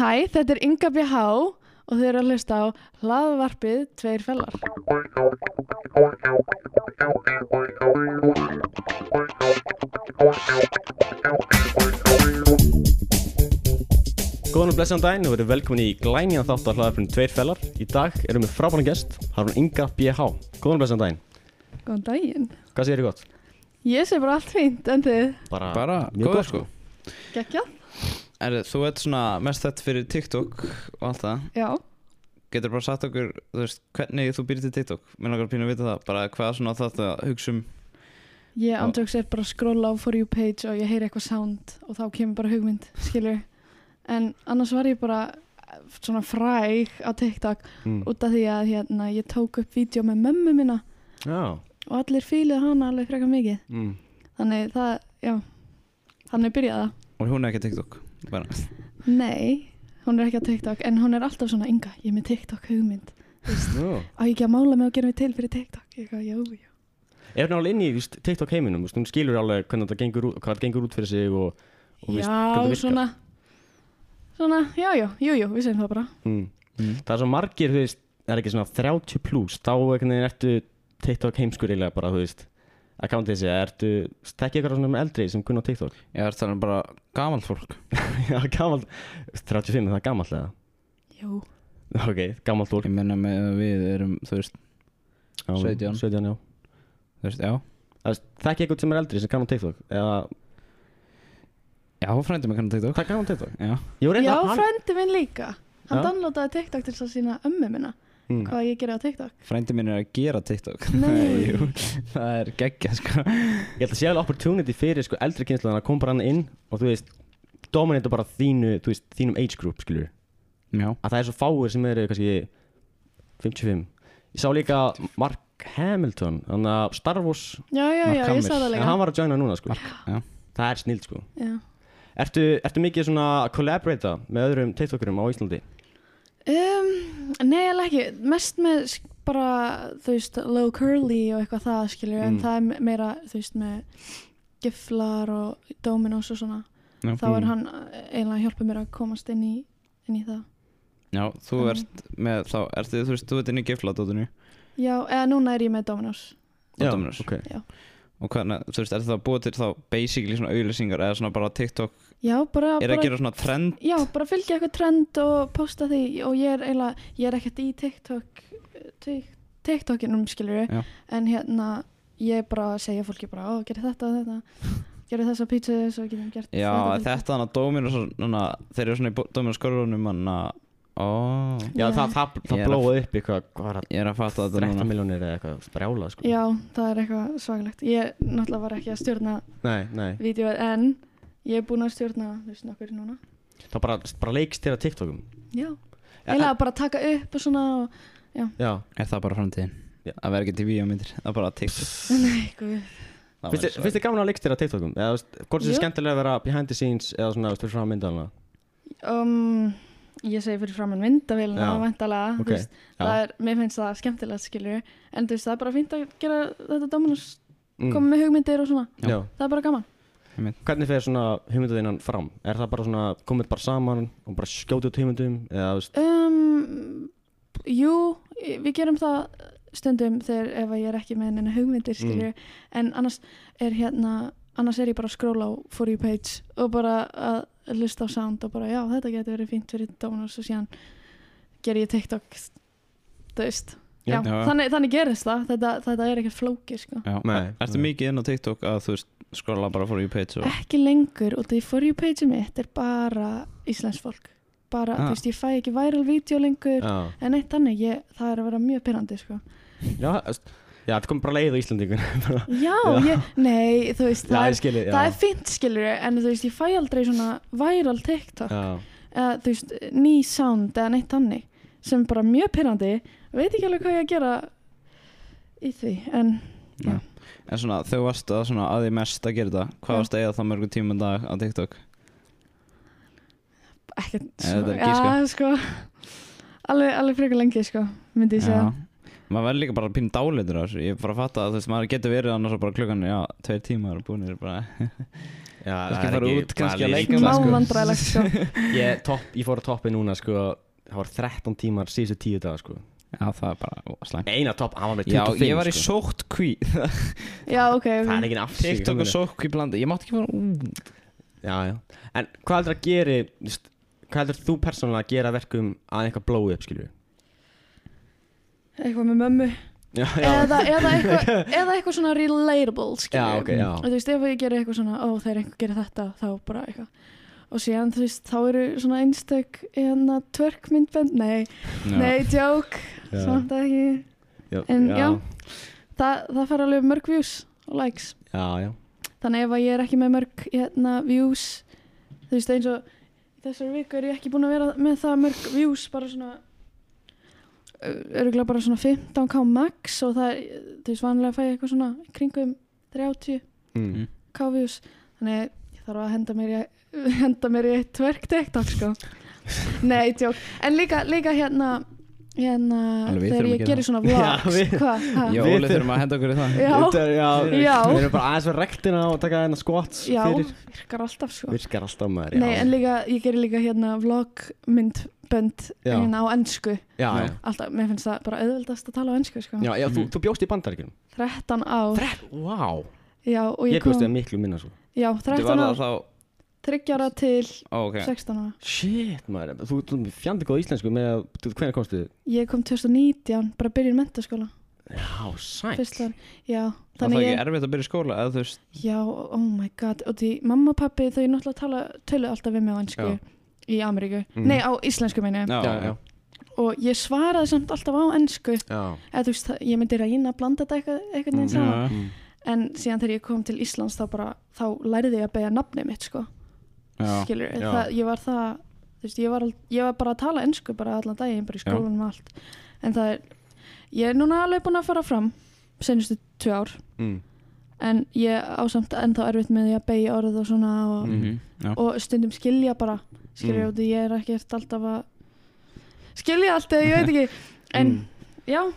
Hæ, þetta er Inga BH og þið eru að hlusta á hlaðvarpið Tveir fellar. Góðan og blessaðan daginn og verið velkomin í glænjan þátt að hlaðarfinn Tveir fellar. Í dag erum við frábæran gest, Harun Inga BH. Góðan og blessaðan daginn. Góðan daginn. Hvað segir þér gott? Ég sé bara allt fínt, en þið Bara, Bara, mjög góð gott sko geggjað? er, Þú ert svona mest þetta fyrir TikTok og allt það Já. Getur bara sagt okkur, þú veist, hvernig þú býr til TikTok Mér langar að pínu að vita það Bara hvað svona þátt að hugsa um Ég andjóks er bara að skrolla á For You page og ég heyri eitthvað sound og þá kemur bara hugmynd, skilur. En annars var ég bara eh, svona fræg á TikTok Mm. út af því að hérna, ég tók upp vídeo með mömmu minna Já. og allir fílið hana alveg frekar mikið. Mm. Þannig það, já, þannig byrjaði það. Og hún er ekki TikTok bara. Nei, hún er ekki á TikTok en hún er alltaf svona Inga, ég er með TikTok hugmynd. Já. á ég ekki að mála mig og gera mig til fyrir TikTok ég eitthvað, jú, jú Er hún alveg inn í víst, TikTok heiminum? Víst, hún skilur alveg hvernig þetta gengur út, hvað þetta gengur út fyrir sig og, og víst, hvernig já, þetta virkar. svona svona, já, já, jú, jú, við segjum það bara Mm. Mm. Það er svo margir, þú veist, það er ekki svona 30 pluss, þá einhvern veginn ertu TikTok heimskur eiginlega bara, þú veist, account þessi, ertu, stekki ykkur svona eldri sem kunna á TikTok? Ég er þannig bara gamalt fólk Já, gamalt, 35, það er gamalt eða? jú, Ok, gamalt fólk. Ég menna með að við erum, þú veist, Já, 17. 17, já. þú veist, já Það er þekki eitthvað sem er eldri sem kann á TikTok eða Já, frændi mig kannan TikTok það kann á TikTok Já, Ég var já, reyndar hann frændi minn líka hann Já. downloadaði TikTok til þess að sína ömmu minna Mm. hvað ég gerði á TikTok frændi minn er að gera TikTok Nei. jú, Það er geggja, sko Ég held að sé alveg opportunity fyrir sko eldri kynsluðan að koma bara hann inn og þú veist dominita bara þínu, þú veist, þínum age group skilur Já, að það er svo fáir sem eru kannski 55 Ég sá líka Mark Hamilton hann að Star Wars já, já, já, Mark ég sá það Hamill. en líka hann var að joina núna sko já Það er snild sko já. Ertu, ertu mikið svona að collaborata með öðrum TikTokurum á Íslandi? Um, nei, alveg ekki mest með sk- bara, þú veist low curly og eitthvað það skilur en Mm. það er me- meira, þú veist, með giflar og dominos og svona Já. þá er hann eh, eiginlega að hjálpa mér að komast inn í, inn í það Já, þú Þannig. ert með, þá ertu, þú veist, þú ert inn í gifladóttunni Já, eða núna er ég með Dominos. Já, Dominos. ok og hvernig, þú veist, er það búið til þá basically svona auðlýsingar eða svona bara TikTok Já, bara, er bara, að gera svona trend já, bara fylgja eitthvað trend og posta því og ég er eiginlega, ég er ekkert í TikTok, tik- TikTokinum skilur Já. en hérna ég er bara að segja fólki bara, ó, gerir þetta og þetta, gerir þessa pítsu svo getum gert já, þetta. til þetta hann að Dominus svona, þeir eru svona í Dominus skorunum hann að, ó, Já, Já. það, það, Ég það er að- blóði upp eitthvað, hvað var það, ég er að fatta þetta 13 núna miljónir eða eitthvað, brjála þetta. sko Já, það er eitthvað svaglegt. Ég náttúrulega var ekki að stjórna Nei, nei vídeoð en ég er búin að stjórna, þú veist, nokkur núna. Það bara, bara leikst þér að TikTokum Já, eiginlega bara taka upp og svona og, Já er það bara framtíðin, Já. að vera ekki til víamyndir það er bara TikTok nei, guð. Það Finnst væri þér- svo- finnst þér gaman að leikst þér að TikTokum? Eða, þú veist, hvort er Jú. þetta skemmtilega að vera behind the scenes eða svona, þú veist, frá myndalina Um, ég segi fyrir framann myndavélina Já. væntalega, Ok, þú veist, já. það er, mér finnst það skemmtilegt skilur, en þú veist, það er bara fínt að gera þetta Dominus, Mm. koma með hugmyndir og svona, Já. Já það er bara gaman Hvernig fer svona hugmyndaðinnan fram? Er það bara svona, komið bara saman og bara skjótið út hugmyndum? Eða, þú veist, um, Jú, við gerum það stundum þegar ef að ég er ekki með neina Mm. hugmyndir skilur, en annars er hérna, annars er ég bara að skróla á for you page og bara að lusta á sound og bara já, þetta getur verið fínt fyrir Dominus og síðan ger ég TikTok þú veist Já. Já, Já, já. Þannig, þannig gerist það, þetta, þetta er ekkert flókið sko. já, Nei. er, ertu Nei. mikið inn á TikTok að þú veist skrolla bara for you page og Ekki lengur, út af því for you page mitt er bara íslensk fólk bara, Ah. þú veist, ég fæ ekki viral vídeo lengur já en eitt þannig, ég, það er að vera mjög pyrrandi sko. Já, þú veist, já, þetta kom bara leið á Íslandingun Já, Já, Já. Ég, nei, þú veist það, ég skilji, er, já það er fínt skilur en þú veist, ég fæ aldrei svona viral TikTok Já, eða þú veist, ný sound eða neitt þannig sem er bara mjög pyrrandi veit ekki alveg hvað ég að gera í því, en já. Nei. en svona þau varst að svona að því mest að gera þetta hvað Já. varst að eiga það mörgum tímum dag á TikTok ekkert Nei, þetta er svo- ekki, sko. Já, sko alveg, alveg frekar lengi sko, myndi ég segja Já. maður verður líka bara pínu dálitur á þessu ég er bara að fatta að þú veist maður getur verið annars bara klukkan já, tveir tímar og búinir bara já, það Kannski er fara ekki út, kannski valið. að leika Smá það, sko. vandræðilegt sko. ég, topp, ég fór að toppi núna sko Það var 13 tímar síðustu 10 dagar sko Já, það er bara ó, slæmt Eina topp, hann var með Já, 25 ég var í sko. sótt kví Já, ok, Það er ok ekki aftur TikTok og sótt kví blandi Ég mátti ekki fara út Já, já En hvað heldur að geri just, Hvað heldur þú persónulega að gera að verkum að eitthvað blói upp skilju Eitthvað með mömmu Já, já eða, eða, eitthvað, eða eitthvað svona relatable skilur. Já, ok, já. og þú veist, ef ég gerir eitthvað svona ó, þegar einhver gerir þetta, þá bara eitthvað og síðan, þú veist, þá eru svona einstök eða tvörkmyndbönd nei, nei, joke Já. samt ekki en já, það, það fær alveg mörg views og likes Já, já þannig ef að ég er ekki með mörg hérna, views þú veist, eins og þessar viku er ég ekki búin að vera með það mörg views bara svona örgulega bara svona 15k max og það, er, þú veist, vanlega fæ ég eitthvað svona í kringum 30 mm. Mm. kafjús þannig ég þarf að henda mér í, henda mér í eitt verk TikTok sko nei, tjók, en líka, líka hérna hérna, Alveg, við þegar þurfum að ég gera gerir svona Já, vlogs við- hvað, ha? Við Já, Óli þurfum- þurfum að henda okkur í það Já. Þetta er- já, Já. Við erum bara aðeins fyrir rektina og taka hennar skott já, fyrir virkar alltaf sko Virkar alltaf maður já. nei, en líka, ég gerir líka hérna vlogmyndbönd Já. hérna á ennsku Já, já alltaf, mér finnst það bara auðveldast að tala á ennsku sko Já, já þú, þú bjóst í bandaríkjum 13 ár, Þrett, wow já, og Ég, ég, bjóst við kom miklu minna sko. svo já, Þetta 13 var ár, þá 30 ára til Ó, ok 16 ára Shit maður, þú, þú fjandi góð íslensku með að, þú- hvenær komstu? ég kom 2019, bara byrjun mentaskóla Já, sæl fyrst var, já, Það þannig er ég ekki erfitt að byrja í skóla eða þú veist Já, oh my god, og því mamma og pappi þau náttúrulega tala, tölu alltaf við mig á ennsku Já. í Ameríku, Mhm. nei á íslensku meina ég. Já, Já, já, og ég svaraði samt alltaf á ennsku já. eða þú veist, það- ég myndi reyna að blanda þetta eitthvað, eitthvað Mhm. neins saman Mm. en síðan þegar ég kom til Íslands þá bara, þá lærði ég að beja nafnið mitt sko, já. skilur, Já. það, ég var það þú veist, ég var, al- ég var bara að tala ennsku bara allan daginn, bara í Já. skólanum og allt en það er, ég er núna alveg búin að fara fram senustu tvö ár Mm. en ég ásamt ennþá erfitt með því að beigja orð og svona og, Mhm. Já. og stundum skilja bara skilja Mm. út því ég er ekkert alltaf að skilja allt eða ég veit ekki en Mm. já,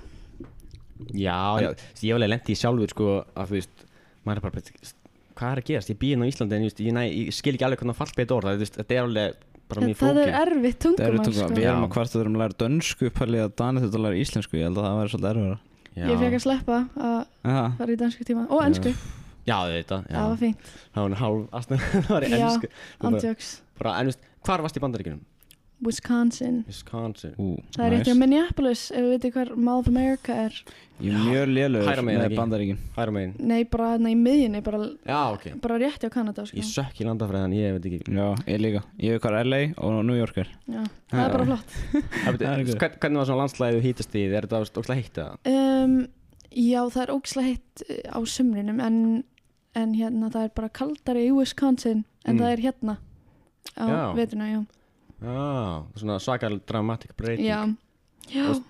Já, já, þú veist, ég hef alveg lendi í sjálfur sko að þú veist, maður er bara þú veist, hvað er að gerast, ég býð inn á Íslandi en þú veist, ég, næ, ég skil ekki alveg hvernig að fallbeit orð það, þú veist, þetta er alveg bara það, mjög flókið er erfitt Það tungumál eru tunga, sko. við Já. erum að hvart að þurfum að læra dönsku upphælið að Dani þetta að læra íslensku, ég held að það væri svolítið erfara ég fekk að sleppa að Aha. fara í dansku tíma og Já. ennsku, Já, þetta, já, það var fínt það var hálf astna, það var í Já. ennsku Þú bara- andjóks, bara, En þú veist, hvar varst í bandaríkunum? Wisconsin Wisconsin Ú, það er nice. eitthvað Minneapolis, ef við veitum hver Mall of America er, Ég er mjög Hægra lélugur megin, með ekki? bandaríkin Hæra megin nei bara þarna í miðjunni bara, Já, ok bara rétt hjá Kanada sko. Ég sökk í landafræðan, ég veit ekki Já, ég líka, ég er hvað LA og New Yorker já, það er Já. bara flott Það veit- Það er hvern- Hvernig var svona landslæðið hýtast í, er þetta óslega heitt eða? um, já, það er ógislega heitt eh, á sumrinum en, en hérna það er bara kaldari í Wisconsin en Mm. það er hérna á Já. veturna, já Já, svona svakal dramatic breyting já, já, Og-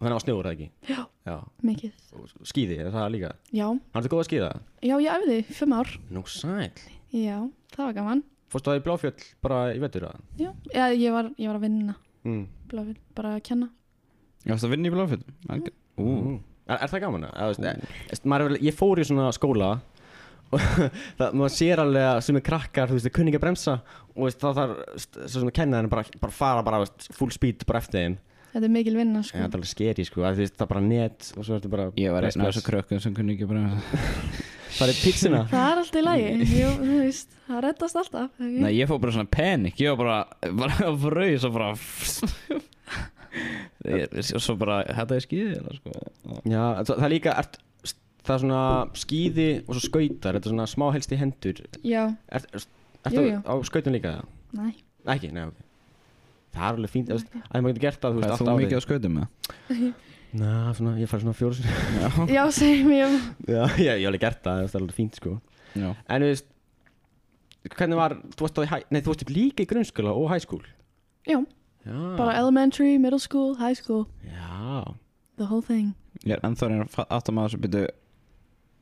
Þannig var snjór það ekki? Já. Já, mikið og skíði, er það líka? já, Hann er góð að skíða? já, ég æfði í fimm ár Nú sæl já, það var gaman Fórstu það í Bláfjöll bara í vetur að? já, já ég, var, ég var að vinna Mm. blöfin, bara að kenna Ég varst að vinna í Bláfjöld Ú, Er, er það gaman að? eða, þú veist, e- veist, maður er vel- Ég fór í svona skóla og það, maður sér alveg að sem er krakkar, þú veist, þeir kunni ekki að bremsa og veist, það þarf, þú veist, svo sem að kenna þeim bara, bara fara bara þú veist, full speed bara eftir þeim þetta er mikil vinna en sko. þetta er alveg skeri sko, að, þú veist, það er bara net og svo ertu bara ég var einn af bless, þessu bless. krökkum sem kunni ekki bara Mm. Það er pítsina það er alltaf í Mm. lagi Jú, þú veist, það reddast alltaf ekki? Nei, ég fór bara svona panik, ég var bara bara fröys og bara Ég- og Svo bara, þetta er skýðið hérna, sko. Já, það, það er líka, ert, það er svona skíði og svo skautar, þetta er svona smá helst í hendur já, Ert, ert, ert Jú, jú, jú. á skautun líka það? nei, Ekki, nei, ok Það er alveg fínt, þú veist, Ekki. að maður getur gert það, þú Hvað veist, er allt þú árið mikið á skautum með? Ná, svona, ég fari svona fjóru sinni já, segjum ég Já, ég ég hef alveg gert það, þú veist, það er alveg fínt, sko Já En þú veist, hvernig var, þú varst á því, hæ- nei, þú varst upp líka í grunnskóla og high school já, Já bara elementary, middle school, high school Já, the whole thing, Ég er ennþá reyna að átta maður sem byrju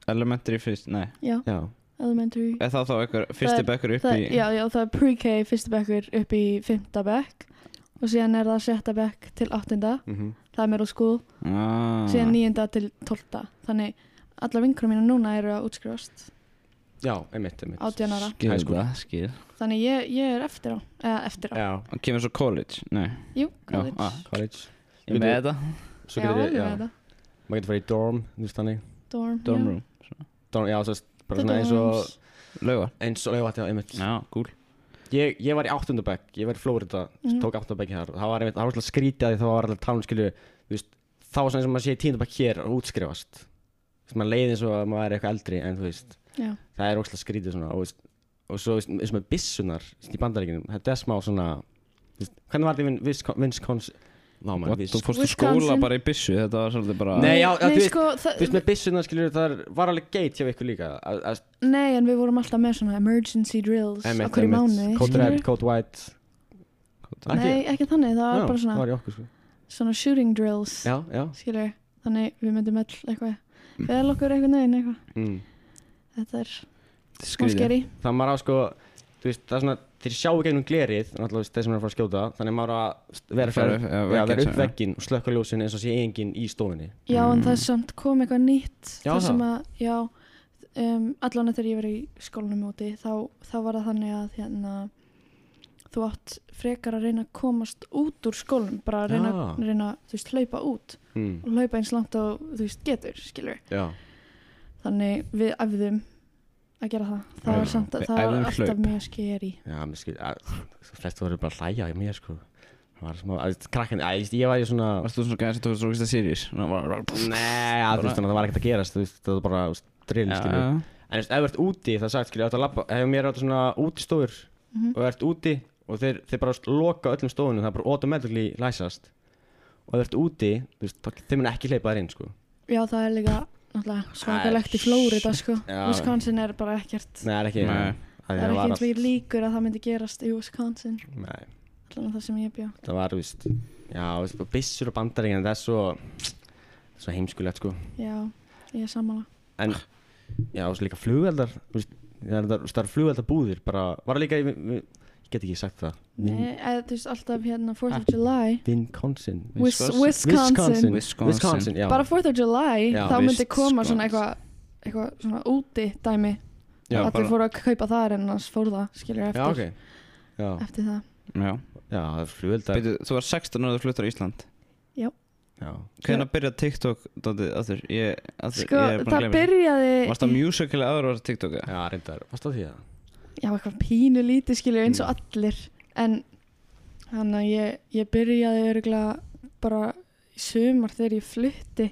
Elementary fyrst, nei já, já, elementary Er það þá einhver fyrsti er- bekkur upp það, í já, já, það er pre-K fyrsta bekkur upp í fymta bekk og síðan er það sjötta bekk til áttunda mhm það er middle school, ah. síðan níunda til tólta þannig allar vinkurum mína núna eru að útskrifast já, einmitt, einmitt 18 ára High Skil school. það, skil þannig ég, ég er eftir á eða eftir á, Já, Og kemur svo college, nei jú, college ah, college Ég er með þetta Svo já, getur alveg ég, já, með þetta maður getur farið í dorm, þú veist þannig dorm, Dorm já. room Dorm, já, þú veist, bara The svona eins og dorms. Lauga eins og, já, já, einmitt Já, gúl Ég, ég var í áttundabæk, ég var í Florida, Mhm. tók áttundabæk hér Það var einmitt, það var svona skrítið að því þá var alltaf talum skilju Þú veist, þá var svona eins og maður sé í tíundabæk hér og útskrifast Þú veist, maður leiði eins og að maður er eitthvað eldri en þú veist já, Það er óslega skrítið svona og, þú veist, og svo þú veist, eins og með bissunar þú veist, í bandaríkinum Þetta er smá svona, þú veist, hvernig var þetta í Vin- Wisco- Wisconsin? Ná, maður, What, þú Wisconsin fórst í Wisconsin. skóla bara í byssu Þetta var svolítið bara Ah. Nei, já, já, þú nei, veist- sko, það, Þú veist, með bissunar skilju, það er- var alveg geit hjá ykkur líka að, að nei, en við vorum alltaf með svona emergency drills á hverju mánuði Code skilurðu. Red, Code White Code nei, ekki þannig, það var bara Það svona, var í okkur sko svona shooting drills Já, já skilur, þannig við myndum öll eitthvað, fel okkur einhvern veginn eitthvað mm. þetta er smá Skrýtið. skeri Það maður á sko Þú veist, það er svona Þeir sjáu gegnum glerið Náttúrulega þú veist, þeir sem er að fara að skjóta Þannig maður á að vera fyrir Fara upp- já, Já, vegginn, vera upp já. vegginn og slökka ljósin eins og sé enginn í stofinni Já, en Mm. það er samt kom eitthvað nýtt Já, þar sem það. að, já um, allan þegar ég var í skólanum úti þá, þá var það þannig að hérna, þú átt frekar að reyna að komast út úr skólanum bara að reyna, Já. reyna þú veist, hlaupa út Hmm. mm. og hlaupa eins langt og þú veist, getur, skilur Já þannig við æfðum að gera það það Já, var samt við að það var æfðum alltaf hlaup. mjög skeri Já, mér skil að- Þú flest voru bara að hlæja í mér sko Það var smá að, Krakkan, að, ég- ég var í svona Varst þú svona gæðin sem tókst rókist að series Ná, var- var- Nei, að, þú veist, þannig að það var ekkert að gerast Þú veist, það var bara þú veist, drill, Já, skilju já. En þú veist, ef þú ert úti, það er sagt, skilja, þú ert að labba, ef mér er þetta svona útistofur Mhm. og þú ert úti og þeir, þeir bara veist, loka öllum stofunum, það bara automatically læsast og ef þú ert úti, þú veist, þá- þeir mun ekki hleypa þær inn, sko. já, það er líka náttúrulega svakalegt í Flórida sko. Já. Wisconsin er bara ekkert Nei, það er ekki, að Nei. það því er ekki var eins og ég líkur að það myndi gerast í Wisconsin allt- Nei, allan að það sem ég bjó það var, þú veist, já, þú veist, og byssur og bandaríkina, það er svo, svo heimskulegt, sko. Já, ég er sammála. En, já, og svo líka flugveldar, þú veist, það er- það eru flugveldabúðir, bara, var það líka, í- við- ég get ekki sagt það, Vin- Nei, eða, þú veist alltaf hérna 4th of Mm. Ah. July Wisconsin. Wis Wisconsin. Wisconsin. Wisconsin, Wisconsin, já. Bara 4th of July, Já, þá myndi vist, koma sko. svona eitthvað eitthvað svona úti dæmi Já, að bara- þið fóru að kaupa þar en annars fóru það skilur eftir, Já, ok. Já. eftir það Já. Já, það er flugveldar Beidu, Þú var 16 ára þú fluttar á Ísland Já, Hvernig byrja TikTok dótið að þér? Ég, að Sko, ég er búin að það gleyma þessu. byrjaði Varst það musical eða ára var það TikTok? eða? já reyndar, varst á því að Já, eitthvað pínu lítið skilur eins og allir en þannig að ég, ég byrjaði örgulega bara í sumar þegar ég flutti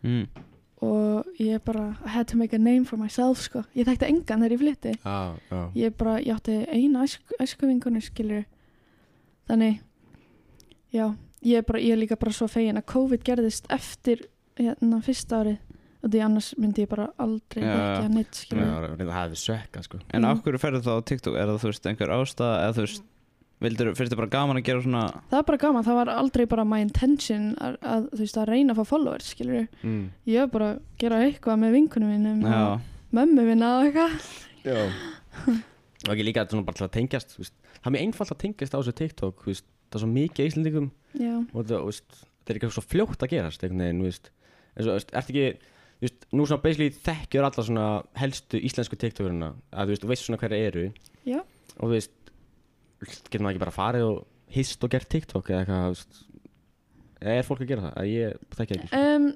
Mm. og ég bara I had to make a name for myself sko ég þekkti engan þegar ég flutti Já, já ég bara, ég átti eina æsk, æskuvinkonu skilur þannig já, ég er bara, ég er líka bara svo fegin að COVID gerðist eftir hérna fyrsta árið og því annars myndi ég bara aldrei Já, ja, ekki að neitt skilur Já, reyndar, það hefði sökka, sko En Mm. af hverju ferðu þá á TikTok? Er það þú veist einhver ástæða eða þú veist Vildur, finnst þið bara gaman að gera svona það var bara gaman, það var aldrei bara my intention að, að þú veist, að reyna að fá followers skilur mm. ég var bara að gera eitthvað með vinkunum mínum Já, og mömmu minna og eitthvað Já Og ekki líka svona bara til að tengjast, þú veist Það er mjög einfalt að tengjast á þessu TikTok, þú veist Það er svo mikið í Íslandingum já, og það, þú veist Það er ekki svo fljótt að gerast, einhvern veginn, þú veist En svo, þú veist, ert ekki, þú veist, nú svona basically þekkjur alla svona helstu íslensku TikTokurina Að þú veist, þú veist svona hverja eru Já. Og þú veist, getur maður ekki bara farið og hist og gert TikTok eða eitthvað, þú veist Eða Er fólk að gera það? Að ég þekki það ekki um,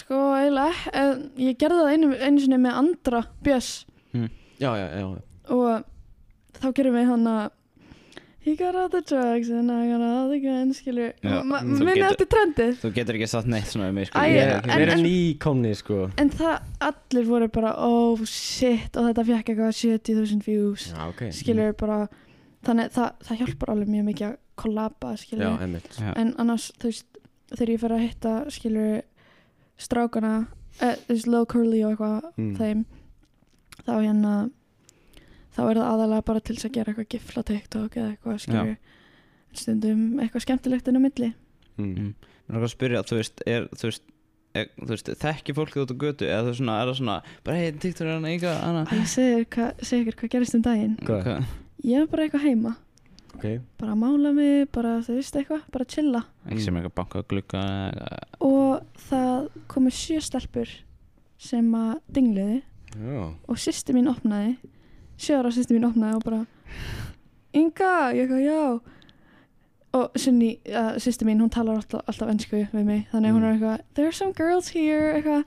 sko, eiginlega um, ég gerði það einu, einu sinni með Andra Björs Já, já, já, já og þá gerum við hann að He got all the drugs and I got all the guns skilur, Já, Ma- mm. minni Þú getur- eftir trendið þú getur ekki satt neitt svona um mig sko. Æ, Ég- en- Við ég- erum nýkomni sko en það allir voru bara oh shit og þetta fekk eitthvað 70.000 views Já, ok skilur bara þannig að það, það hjálpar alveg mjög mikið að kollaba skilur Já, einmitt Já. en annars þú veist þegar ég fer að hitta skilur strákana eh, þú veist Low Curly og eitthvað Mm. þeim þá hérna þá er það aðalega bara til þess að gera eitthvað gifla TikTok eða eitthvað skilur stundum eitthvað skemmtilegt inn á milli mm. Mér er að spyrja, þú veist, er, þú veist, er, þú veist þekki fólkið út á götu eða þú veist, svona, er það svona, bara hei, TikTok er hana, enga, hana að ég segir hva, segir hvað gerist um daginn Hvað? Hvað? ég er bara eitthvað heima Ok bara að mála mig, bara þú veist eitthvað bara að chilla Ekki sem eitthvað banka á glugga eða eitthvað. og það komu sjö stelpur sem að dingluði Já. og sýsti mín opnaði sjöra sýsti mín opnaði og bara Inga, ég eitthvað já og sinni uh, sýsti mín, hún talar alltaf, alltaf ennsku við mig, þannig að hún Mm. er eitthvað there are some girls here, eitthvað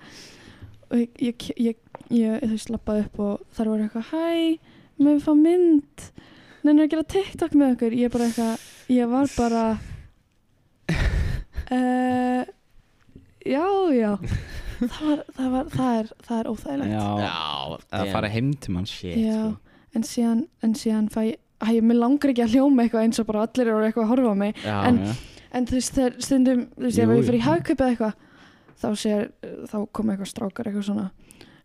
og ég, ég, ég, ég þú veist, lappaði upp og þar voru eitthvað, hæ með fá mynd neina að gera TikTok með okkur, ég bara eitthvað ég var bara uh, já, já það var, það var, það er það er óþægilegt Já, að damn. fara heim til manns Shit, Já, sko. en síðan, en síðan fæ ég, æ, mér langar ekki að hljóma eitthvað eins og bara allir eru eitthvað að horfa á mig Já, En- Já. en þú veist, þegar stundum, þú veist, ef Jú, ég jú. fyrir í hagkaupið eitthvað þá sér, þá kom eitthvað strákar eitthvað svona,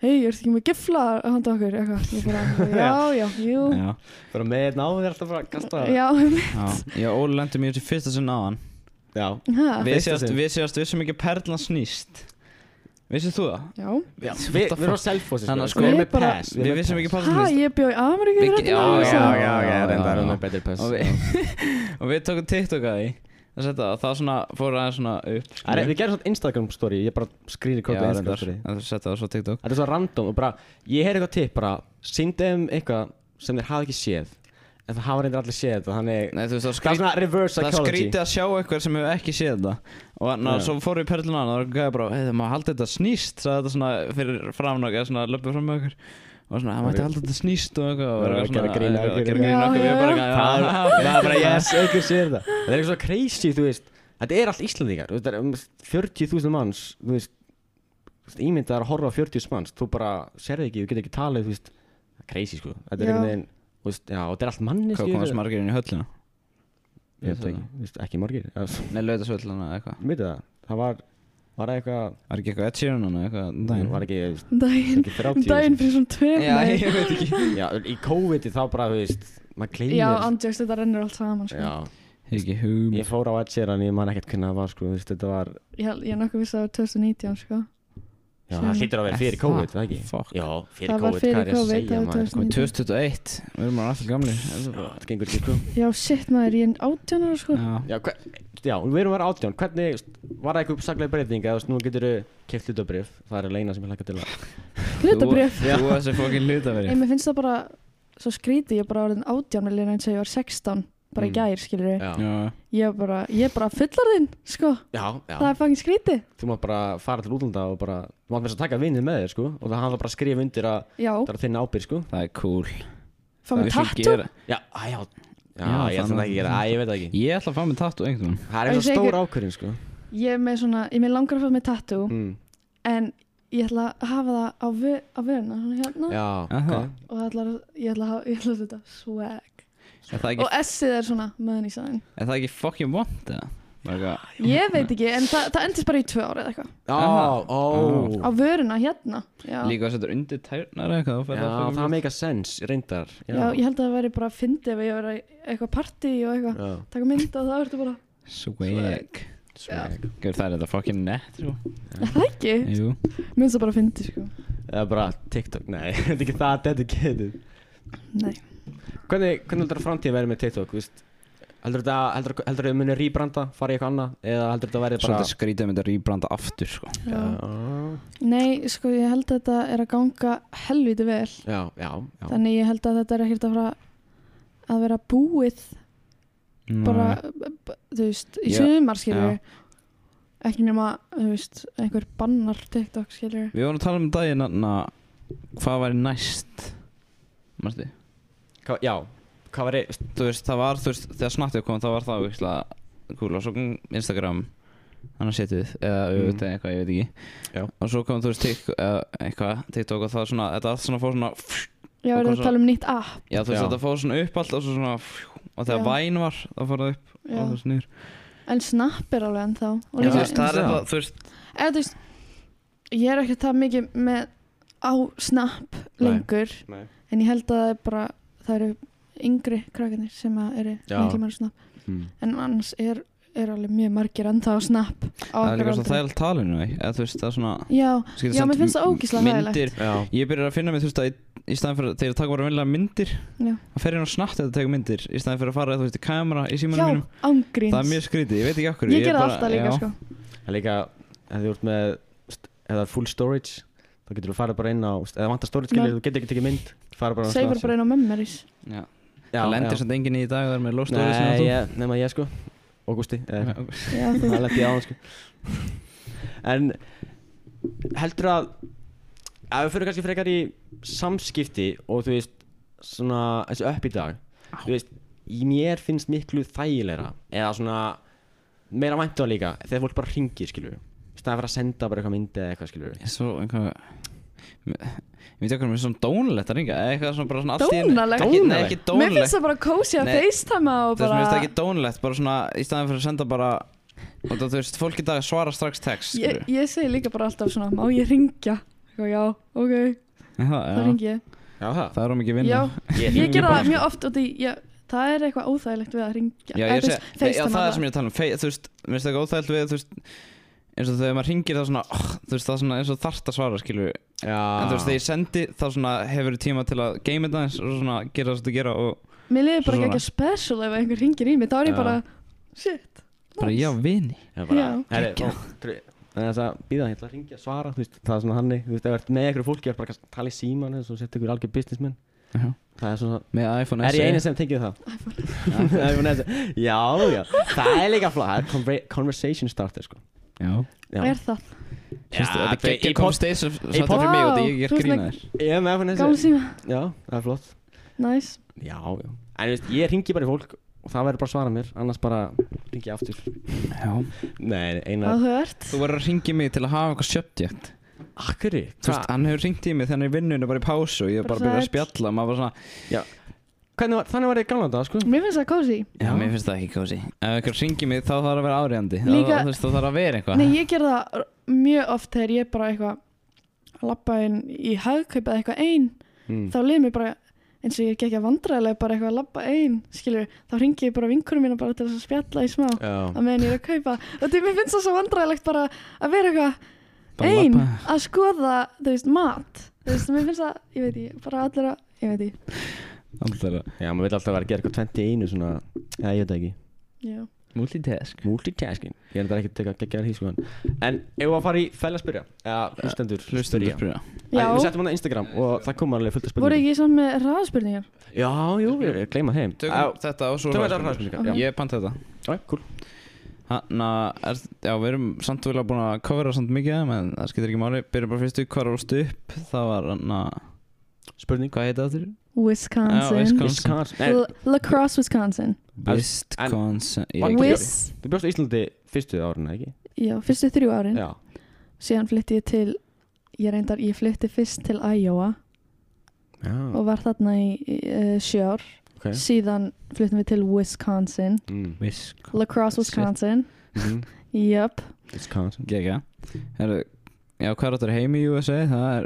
hei, ertu ekki með gifla að handa okkur, eitthvað Ég bara, já, já, jú, Já. bara með einn á þér alltaf bara að kasta já, Já. Já, Óli lendi mér til fyrsta sinn á hann já. ha, Við fyrsta séast, sinn. við séast, við sem ekki perlan snýst Vissið þú það? já Já, What Við the við erum á self-hósi Þannig að sko- Við erum Ég með bara- pass Við vissum ekki perlan ha, snýst ég bjóð í Ameríku Við- fyrir þetta Já, lag, já, sagði- já, já, reyndar já. erum með better pass Og Já. við, og við tókum TikTok að því að setja það og það svona fór aðeins svona upp Það er- Við gerum svona Instagram story, ég bara skrýri Já, kvöldu Instagram reyndar, story að setja það svo á TikTok Þetta er svo random og bara, ég heyrði eitthvað tipp bara, syndi þeim eitthvað sem þeir hafa ekki séð En það hafa reyndar allir séð þetta, þannig Sko, Nei, þú veist, það Það er skrýt svona reverse Það psychology skríti að sjá eitthvað sem hefur ekki séð þetta Og hann, Já. svo fór við perlun á hann og gæði bara Hei, það maður haldi þetta snýst Sæði þetta svona fyrir framnögg, svona löpum fram með okkur Og svona, það mætti haldi þetta snýst og eitthvað Já, Og var að eitthvað svona gera grín að að okkur. gera grín Já, okkur Við já, bara, já. Það "Ah, já, er- það er bara yes, einhver sér það Það er eitthvað svo crazy, þú veist Þetta er allt Íslandingar, þú veist, það er um 40.000 manns, þú veist þú veist, Ímyndað er að horfa á 40 manns, þú bara sérði ekki, þú getur ekki talið, þú veist Það er crazy, sko, þetta er Já. einhvern veginn þú veist, Já, og þetta er allt manni, Hvað komast margir inn í höllina? Ég veit það ekki, þú veist, ekki margir Já, s- Nei, lautasvöllina eða eitthvað Mjög það, það var, var eitthvað Var ekki eitthvað Ed Sheeran hann eða eitthvað um daginn? Var ekki, þú veist, um daginn, ekki um 30 daginn fyrir svona tveim Já, nei. ég veit ekki Já, í COVID þá bara, þú veist, maður kleynir já, andjóks, þetta rennur allt saman sko. Já, Ég ekki hugum ég fór á Ed Sheeran, ég man ekkert hvernig það var, sko, þú veist, þetta var ég, ég er nokkuð viss að það var 2019 sko. Já, Sem- það hlýtur að vera fyrir Er COVID, það? það ekki? Eh, Fuck. Já, fyrir Það var COVID, fyrir hvað er ég að COVID, segja það var maður? 2000. Komið 2021, við erum alveg gamli Já, Það gengur ekki, sko. já, shit maður, ég er 18 ára sko. Já, Já, hver, já, við erum að vera átján, hvernig, var það eitthvað saklega breyting eða þú veist, nú getur þú keft hlutabrif, það er leina sem ég hlaka til að. hlutabrif Þú þú þessi fokkin Nei, hlutabrif mér finnst það bara svo skrítið, ég er bara orðin átján með lina eins og ég var 16, bara í Mm. gær, skilur við. Já, Já, Ég er bara, ég er bara fullarðinn, sko, já, það já, er fangin skrítið. þú mátt bara fara til útlanda og bara, þú mátt með þess að taka vinnið með þér, sko, og það hann var bara að skrifa undir að Já, það er þinn ábyrg, sko. það er cool fá mig Við skulum tattu. gera- Já, að, já, já, Já, ég ætla þannig- það ekki að gera, að, ég veit það ekki. Ég ætla að fá mér tattu einhvern veginn Það Á, er ég eitthvað segi stór ykkur- ákvörðin, sko. Ég er með svona, ég er með langar að fá mig tattu, Mm. en ég ætla að hafa það á, vi, á veruna, svona hérna, Já, Aha. ok. og það ætlar, að- ég ætla að hafa, ég ætla að þetta swag. Er það ekki, Og S-ið er svona, möðin í sæðin. er það ekki fokkin vond eða? Bara eitthvað- Ég veit ekki, en það, það endist bara í tvö árið eitthvað. Ó, Aha. ó. Á vöruna, hérna, já. Líka að setja undir tærnar eða eitthvað þá fer Já, fucking það vont. make a sense, reyndar. Já, ég held að það væri bara að fyndi ef ég verið eitthvað partí og eitthvað, Já. taka mynd og það ertu bara, Swag Swag. Gjör það er þetta fokkin nett sko. það ekki, Jú mér finnst það bara að fyndi, sko. Það er bara TikTok, nei, þetta er ekki það dedicated Nei. Hvernig, hvernig heldur það framtíð verið með TikTok, viðst? Heldur þetta, heldur heldur það muni rýbranda, fara í eitthvað annað Eða heldur þetta verið bara Svolítið sko. skrítið með þetta rýbranda aftur sko. Já. Já, Nei, sko, ég held að þetta er að ganga helviti vel. já, já, já. Þannig ég held að þetta er ekkert að fara að vera búið bara, b- þú veist, í Já, sumar, skiljur. Ekki nema, þú veist, einhver bannar TikTok, skiljur. Við vorum að tala um daginn að hvað væri næst Marti Hva, já, hvað verið, þú veist, það var, þú veist, þegar snattið kom þá var það auðvitað kúl og svo kom Instagram annars setið, eða auðvitað eitthvað, ég veit ekki Mhm. Já. og svo kom, þú veist, tik, eða eitthvað TikTok og það var svona, þetta allt svona fór svona Já, Og er hvað það að svo? tala um nýtt app. já, þú veist, Já. þetta fór svona upp allt og svo svona og Já. þegar væn var, þá fór það upp Já. og þú veist, nýr En Snap er alveg ennþá. og Já, líka þú veist, það er Insta. eitthvað, þú veist Eða, þú veist, ég er ekki það mikið með á Snap Nei. lengur, Nei. en ég held að það er bara, það eru yngri krakkarnir sem að eru Já. miklu meira á Snap. mm. en annars er, er alveg mjög margir ennþá á snapp á það er okkar líka svona aldri. þægilt talinu, ekki? eða þú veist, það er svona já, skilur Já, samt mér finnst það ógeðslega þægilegt. myndir, Já, ég byrjar að finna mig, þú veist, að í, í staðan fyrir, þegar ég taka bara vinlega myndir já, að fer ég nú snart að taka myndir í staðan fyrir að fara, þú veist, í kamera í símanum já mínum ángríns Það er mjög skrítið, ég veit ekki okkur sko. ég gera það alltaf líka sko. það er líka, ef þú ert með, st- ef það er full storage þá getur þú farið bara inn á eða vantar stóriðskilir, Nei. þú getur ekki tekið mynd farið bara á Seifur staðinn. bara inn á memories Já, Já, það lendir já. samt enginn í dag þar með low stories Nei, ég, nema ég sko Augusti eða ég Já, þú Það lendi ég á hann sko En heldur að ef við fyrir kannski frekar í samskipti og þú veist svona þessi upp í dag þú veist, í mér finnst miklu þægilegra eða svona meira væntu að líka þegar fólk bara ringir skilur í staðan fyrir að senda bara eitthvað myndi eða eitthvað skilur Ég er svo einhvað Ég veit ekki hvað mér er svona dónulegt að ringa eða eitthvað svona bara svona allt í einu- Dónalegt? Ekki- Nei, ekki Mér dónulegt finnst það bara kósi að Nei. facetime og Þú veist, bara mér finnst það ekki dónlegt, bara svona í staðin fyrir að senda bara og það, þú veist, fólk í dag svara strax text ég, skilurðu. ég segi líka bara alltaf svona Má ég ringja? Eitthvað, Já, ok, Já, þá já. ringi ég Já það Það er um ekki vinna Já, Ég ég hringi gera bara. sko. það mjög oft og því, ég, það er eitthvað óþægilegt við að ringja Já, Eða, ég þú sé, veist, Nei, já, FaceTime það er alla. sem ég er að tala um Fe, Þú veist, mér finnst það ekki óþægilt við þú veist, eins og þegar maður ringir þá svona oh, þú veist, það er svona eins og þarft að svara, skilju en Já þú veist, þegar ég sendi þá svona hefur tíma til að game þetta eins og svona gera það sem þú gera og Mér liður bara Svona. ekki að special ef einhver ringir í mig þá er ég Já. bara, shit bara nice. já, vini Já, bara, Já. herri, ó, trú- Það er þess að býða, ég ætla að ringja að svara, þú veist, það er svona hannig, þú veist, ef þú ert með ykkur fólki, ég er bara kannski að tala í síman eða svo setja ykkur algjör businessmenn, Já. það er svona, með iPhone E. er ég eini sem tengið það? iPhone SE. Já, já, það er líka flott, það er conver- conversation starter, sko. Já, Já. er það? Sérstu, Já, þetta er þau- í geggja pod- konstins sem þetta er pod- fyrir mig og þetta Vá, ég er þú veist, grína like- þér Ég er með iPhone Gála SE. síma, Já, það er flott. nice Já, já, en þú veist, ég ringi bara í fólk og það verður bara að svara mér, annars bara ringi ég aftur. Já. Nei, eina, Áhugavert Þú verður að ringja mig til að hafa eitthvað subject akkuri, Þú veist, hann hefur ringt í mig þegar hann er í vinnunni bara í pásu og ég er Bara bara að byrja að sæll. spjalla og maður bara svona, hvernig var, þannig var ég gamla þetta, sko? Mér finnst það kósi já, mér finnst það ekki kósi Ef einhver ringi mig þá þarf að vera áriðandi Líka- Þú veist, þá þarf að vera eitthvað Nei, ég ger það r- mjög oft þegar ég bara eitthvað labba inn í hagkaup eða eitthvað ein Mm. þá liður mér bara eins og ég er ekki að vandræðilega bara eitthvað að labba ein skilur, þá ringi ég bara vinkurum mína bara til þess að spjalla í smá Já. að meðan ég er að kaupa og því mér finnst það svo vandræðilegt bara að vera eitthvað Bara ein labba. að skoða, þú veist, mat þú veist, mér finnst það, ég veit ég, bara allir að ég veit ég, Alltaf Já, maður vil alltaf vera að gera eitthvað 20 í einu svona Já, ég veit það ekki já Multitask Multitasking Ég er þetta ekki að gegja þér hískuðan En ef við að fara í fæla spyrja Eða hlustendur Hlustur ég Já Við Já, settum hann á Instagram og það kom alveg fullt af voru spurningum ekki saman með hraðspurningar? Já, jú, við við gleymum þeim Tökum þetta og svo tökum þetta hraðspurningar, hraðspurningar. já. Ég panta þetta Já, cool Hanna, er, já, við erum samt vilja búin að covera samt mikið af þeim, en það skiptir ekki máli Byrjum bara fyrstu, hvað rólst upp? Það var hann Spurning hvað heita það þér? Wisconsin, Já, Wisconsin. Wisconsin Nei, L- Lacrosse, Wisconsin Wisconsin Ég- Var ekki ég- Wis- Wis, þú bjóst á Íslandi fyrstu árinu, ekki? já, fyrstu þrjú árin Já síðan flytti ég til ég reyndar, ég flytti fyrst til Iowa Já, og var þarna í, í uh, sjö ár ok síðan flyttum við til Wisconsin Mm, Wisconsin Lacrosse, Oh, Shit. Wisconsin mhm. Jöp, Wisconsin Gekja Herru, já, hvað er þetta heim í USA? Það er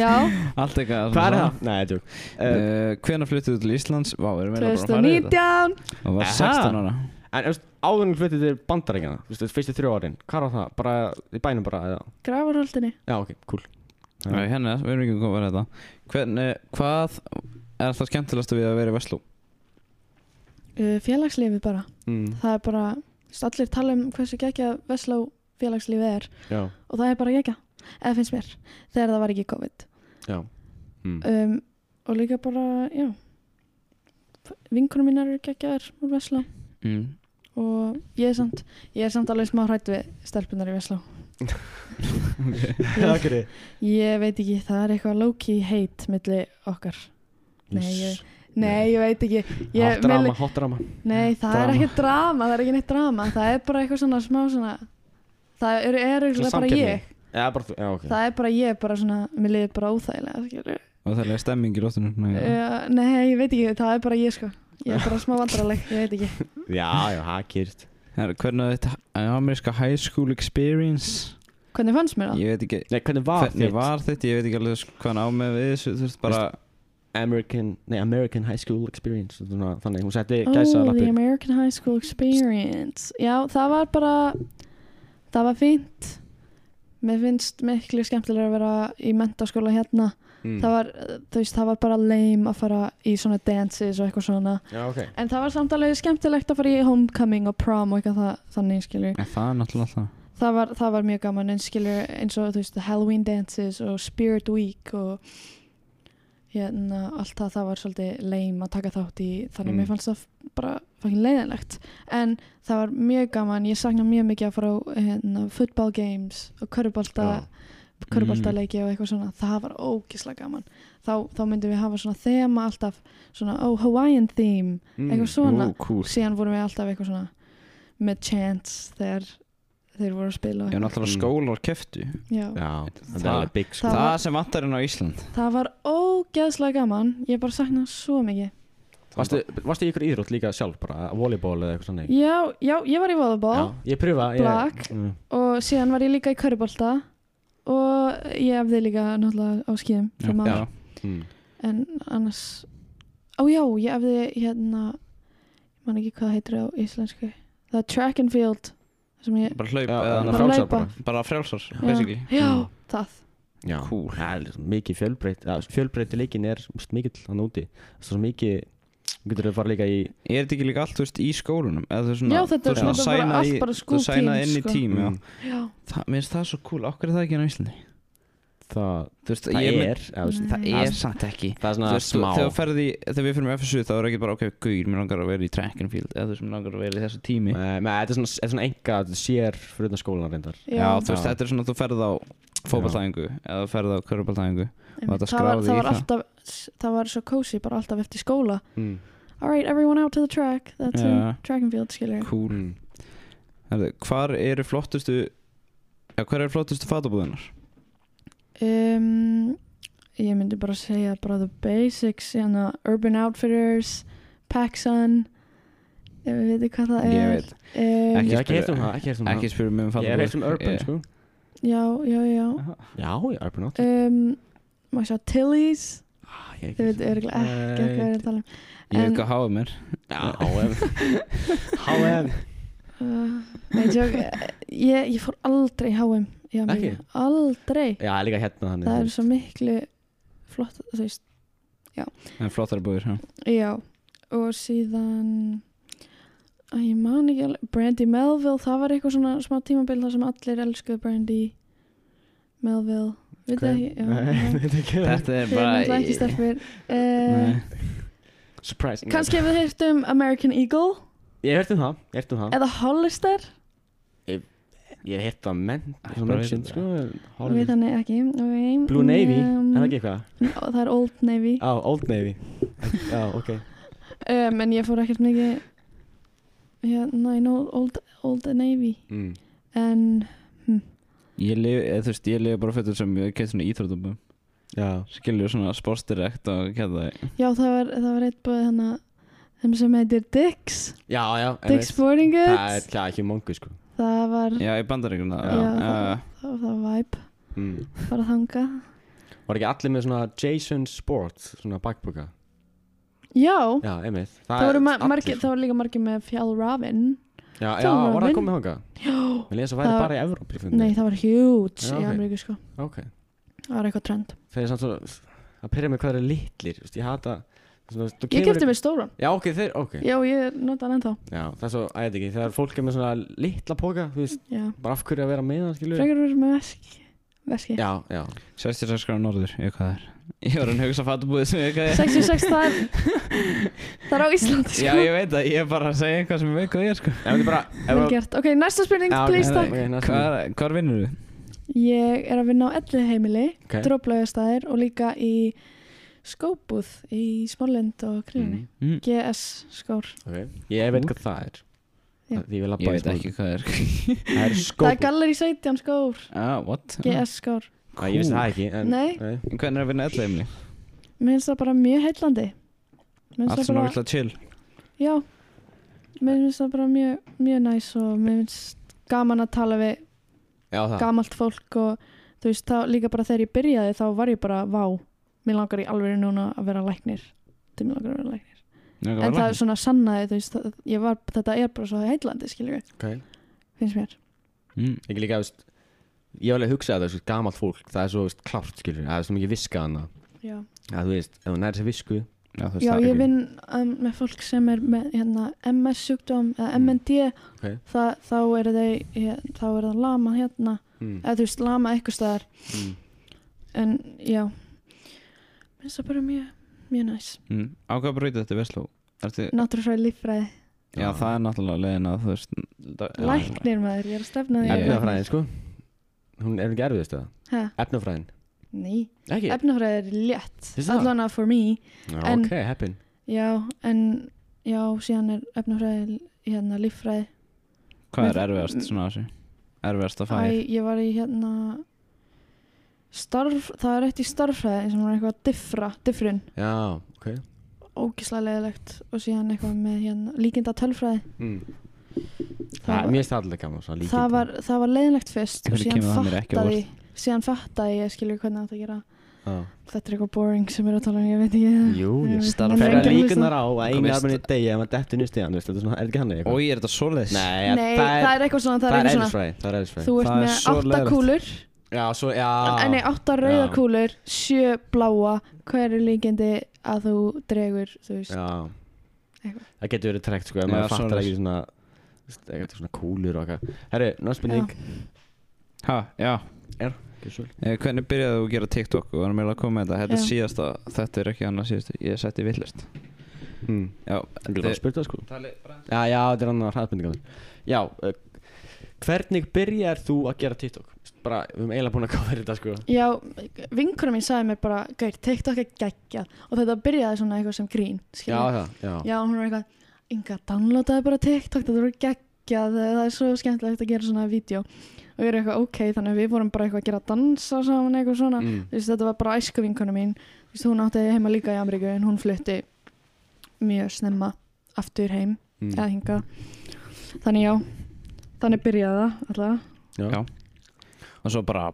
já, allt eitthvað Hvað er það? Nei, Eh, tjók En Uh, hvenær fluttuðu til Íslands? Vá, við erum eiginlega bara að fara í þetta 2019 Það var Aha. 16 ára þú veist, áðurinn flyttið til bandaríkjana Þú veist, fyrstu þrjú árin Hvað var það? Bara í bænum bara, eða? Grafarholdinni, Já, ok, cool Já. Nei, Hérna, við erum ekki að koma að vera þetta Hvernig, hvað er alltaf skemmtilegast við að vera í Vestló? uh, félagslífi bara Mm, það er bara, þú veist, allir tala um hversu gekkja Vesló félagslífi er Já, og það er bara gekkja, eða finnst mér þegar það var ekki COVID já Mm. um, og líka bara, já vinkunum mínar eru geggjaðar úr Vesla Mm. og ég er samt ég er samt alveg smá hrætt við stelpunar í Vesla Það gerir ég veit ekki, það er eitthvað low-key hate milli okkar Nei, ég- nei, ég veit ekki Hot ég, drama, hot drama nei, það er Drama. ekki drama, það er ekki neitt drama það er bara eitthvað svona smá svona það eru er, Svona er bara samkeppni. ég Já, bara þú, já, ok það er bara ég, bara svona, mér liður bara óþægilega skilur Og það er stemming í lóttinu Uh, nei, ég veit ekki, það er bara ég sko Ég er bara smá vandraleg, ég veit ekki Já, já, það gerist Herru, hvernig er þetta ameríska high school experience? Hvernig fannst mér það? Ég veit ekki Nei, hvernig var Hvernig var þetta? Ég veit ekki alveg sko hvað hann á með við þessu Þú veist bara American, nei, American High School Experience svona, Þannig, hún setti Oh, gæsa the lappir American High School Experience Já, það var bara Það var fínt Mér finnst miklu skemmtilega að vera í mentaskóla hérna Mm. það, var, uh, þú veist, það var bara lame að fara í svona dances og eitthvað svona Já, ok En það var samt alveg skemmtilegt að fara í homecoming og prom og eitthvað það, þannig skilur En það er náttúrulega alltaf það var, það var mjög gaman en skilur eins og þú veist the Halloween dances og Spirit Week og hérna allt það það var svolítið leim að taka þátt í þannig Mm. að mér fannst það bara fangin leiðanlegt en það var mjög gaman, ég sakna mjög mikið að fara á hérna, football games og körubólta Já. Mm. körubóltaleiki og eitthvað svona, það var ógislega gaman þá, þá myndum við hafa svona þema alltaf, svona oh Hawaiian theme Mm. Eitthvað svona. Ú, cool. síðan vorum við alltaf eitthvað svona með chance þegar þeir voru að spila og Ég var náttúrulega Mm. skólar keftu Já, Já, það er Það- alveg big sko Það Það, var- sem vantar inn á Ísland það var ógeðslega gaman ég bara sakna svo mikið Varstu, varstu í ykkur íþrótt líka sjálf bara, volleyball eða eitthvað svona já, já, ég var í volleyball Ég pröfa ég, Blak. Mm. og síðan var ég líka í körubólta og ég efði líka náttúrulega á skíðum fyrir mamma. já. Mm. en annars ó já, ég efði hérna ég man ekki hvað það heitir á íslensku það er track and field sem ég, Bara hlaup Já, eða bara þannig að frjálsar hlaupa. bara Bara frjálsar, já, basically já, Mm. það Já, Cool. það er svo mikið fjölbreyt ja, Fjölbreytileikin er mst mikill hann úti Það er Svo mikið, þú getur að fara líka í Er þetta ekki líka allt, þú veist, í skólunum? Eða þú veist svona, Já, þetta þú er veist, svona svona bara sæna allt í- bara Þú school sænaði team, inn í sko. tím, já Mm. já, Það- Mér finnst það svo cool, okkur er það ekki inn á Íslandi Það, Þú veist, það ég mynd- er ja, þú Mm. veist, Það er samt ekki Það er Þú svona veist, þú- smá Þegar þú ferði, þegar við fyrir með FSU þá er ekki bara ok, guður, mér langar að vera í track and field eða þú veist, mér langar að vera í þessu Nei, tími nei, Eh, Þetta er svona, þetta er svona enga þetta er sér fyrir utan skólan reyndar Já, þú veist, Já. þetta er svona að þú ferð á fótballtæðingu eða þú ferð á körubaltæðingu Einmitt, það var, þetta skráði það í var það. alltaf það var svo cozy bara alltaf eftir skóla mm. alright everyone out to the track that's Já. in track and field skilur Cool Mm. Herðu, Hvar eru flottustu Já, hver eru flottustu fatabúðunar? um, ég myndi bara segja bara the basics hérna, urban outfitters Pacsun ef við veitum hvað það Ég er veit um, Ég Ekki hef ekki spyrja- heyrt um það, ekki heyrt um Ekki það spyrir mig um Ég hef heyrt fatabúður um Urban sko já, já, já Já, já, Urban Outfit um, maður sjá Tilly's Ah, ég hef þið ekki veitum örgulega ekki Nei. hvað er að tala um. Ég hef En- ekki að háa mér Já, HM HM um uh, nei, tjók, ég, ég fór aldrei í HM já, Ekki? mikið. aldrei Já, líka hérna þannig það er svo miklu flott þú veist En flottari búður, já Já, og síðan að ég man ekki alveg Brandy Melville, það var eitthvað svona smá tímabil þar sem allir elskuðu Brandy Melville Við það ekki, já Nei, þetta ekki Þetta er Þið er náttúrulega ekki bara stelpur Nei. uh, Surprising Kanski ef við heyrtum American Eagle Ég hef heyrt um það, ég hef heyrt um það eða Hollister Ég hef heyrt um menn Æ, Svona bara menn veit sinn, þetta. sko Við Hollywood. þannig ekki okay. Blue Navy, um, er það ekki eitthvað? já, Það er Old Navy Á, Old Navy Já, ok um, En ég fór ekkert mikið Hérna, ég know old, old Navy Mm. En Ég lifi, eða þú veist, ég lifi bara fötum sem ég kemst svona íþrótabúðum Já, Skiljur svona sportsdirekt og kæða já, það var, það var eitt búið hana þeim sem heitir Dix já, já Dick einmitt. Sporting Það er Goods klæða ekki mongu, sko það var Já, í bandaríkjum Já. Mhm. Já, það var það væp mm. bara þanga Var ekki allir með svona Jason Sports Svona bakboka já, Já, einmitt það voru ma allir. margir það voru líka margir með Fjall Ravin Já, já, þjálfarinn var það minn. komið hanga? já, Mér leðið svo Það væri var- bara í Evrópi nei það var huge Já, í ok. Ameríku sko, Ok það var eitthvað trend Þeir er samt svona Að pyrja mig hvað þeir eru litlir þú veist, Ég hata svona, þú ég kemur- kefti mér stóran, Já, ok, þeir, ok já ég nota hann ennþá Já, það er svo, að ég veit ekki, þegar fólk er með svona litla póka, þú veist, já, bara af hverju að vera með hann, skilur frekar verið með veski veski, Já, já 66 gráður norður, ég veit hvað það er Ég var hann hugsa fattabúðið sem ég veit hvað er 66 það er það er á Íslandi sko Já, ég veit það, ég er bara að segja eitthvað sem ég veit hvað ég er sko Ef þetta er bara ef vel að- gert, ok næsta spurning, Já, ok, please nei, takk ok, næsta Hvar, hvar vinnur þú? ég er að vinna á ellu heimili Ok. droplaugastæðir og líka í skóbúð í Smálend og Krílunni. Mm, Mm. GS skór. ok. Ég veit hvað það er Já. Því ég vil labba Ég í veit skóla. ekki hvað það er Það sko. er Það er skóp Galleri 17 skór, Ah, what? GS skór. Æ, Ég vissi það ekki en, Nei. Hvernig er að vinna elda heimli? Mér finnst það bara mjög heillandi. Mér Allt finnst sem það er bara, alltaf chill já, mér finnst það bara mjög, mjög næs og mér finnst gaman að tala við Já, það gamalt fólk og þú veist, þá líka bara þegar ég byrjaði þá var ég bara, vá, mér langar í alveg núna að vera læknir. Þetta mér langar að vera læknir. En það er svona sannaði, þú veist, það- ég var, þetta er bara svo heillandi, skiljum við, Ok finnst mér. mm. Ég líka, þú veist Ég hef alveg hugsað þetta, þú veist, gamalt fólk Það er svo, þú veist, klárt, skilur Það er svo mikið viska hana Já. Það, þú veist, ef hún nær sér visku Já, þú veist Já, það ég ekki. vinn um, með fólk sem er með hérna, MS-sjúkdóm eða MND Mm. Ok. Þa, þá eru þau, hér, þá eru það lama hérna, Mm. eða þú veist, lama eitthvað staðar Mm. en já minnst það bara mjög, mjög næs mm. Á hvað breytið þetta Vesló? Ertu, Náttúrufræði líffræði, já, Já. hérna. það er náttúrulega leiðin að þú veist da- já, læknir maður, ég er að stefna því að Ég- Efnafræðin, sko Hún er ekki erfiðist eða? Ha, Efnafræðin Ný, Ekki? efnafræði er létt Finnst það? allan að for me Já, en- ok, heppin Já, en já, síðan er efnafræði hérna líffræði. Hvað er erfiðast svona á þessu? Erfiðast að fæða Æ, ég var í hérna starf, það er eitt í starffræði sem var eitthvað diffra, diffrun, Já, ok ógislega leðilegt og síðan eitthvað með hérna líkinda tölfræði. Hmm. mm. Það, Mér finnst það alltaf gaman svona var, líkindi. það var, það var leðilegt fyrst og Hvernig síðan kemur það mér ekki á fattaði, síðan fattaði ég skilur hvernig átt að gera. Já. Þetta er eitthvað boring sem ég er að tala um, ég veit ekki. Jú, Ég jú veit, starf- menn eru Fyrir ekki að hlusta. líkunar á að einu Komist- arminni degi ef maður dettur nýst í hann, veist, þetta er svona, er þetta ekki hann eitthvað? Og ég er þetta svoleiðis Nei, Nei, það er eitthvað svona, það er eitthvað svona. eðlisfræði, það er eðlisfræði Þú ert Það er með svo átta leiðilegt. kúlur Já, svo, já En nei, átta rauða Já. kúlur, sjö bláa, hvað eru líkindi að þú dregur, þú veist, Já Eitthvað. Það getur verið trekt, sko, ef Já, maður fattar ekki svoleiðis. svona veist, Eitthvað svona kúlur og eitthvað Herri, ná spurning Ha, já Gjörðu svo vel. Eh, Hvernig byrjaði þú að gera TikTok og varum eiginlega að koma með þetta? Þetta er Já. síðasta, þetta er ekki annað síðasta, ég setti villist. Hmm. Já, Þú getur eh, að spyrta, sko talið bara- Já, já, þetta er annar hraðbendingar Já, uh, hvernig byrjar þú að gera TikTok? Bara, við erum eiginlega búin að koma þetta sko já, vinkunum mín sagði mér bara, gauð, TikTok er geggjað og þetta byrjaði svona eitthvað sem grín, Já, skilja, það, já já, hún var eitthvað, Inga, downloadaði bara TikTok, þetta voru geggjað, eh, það er svo skemmtilegt að gera svona vídeo og ég er eitthvað, ok, þannig að við vorum bara eitthvað að gera dansa saman eitthvað svona, Mm. þú veist, þetta var bara æsku vinkona mín þú veist, hún átti heima líka í Ameríku en hún flutti mjög snemma aftur heim eða Mm. hingað þannig já, þannig byrjaði það alltaf Já. Já. Og svo bara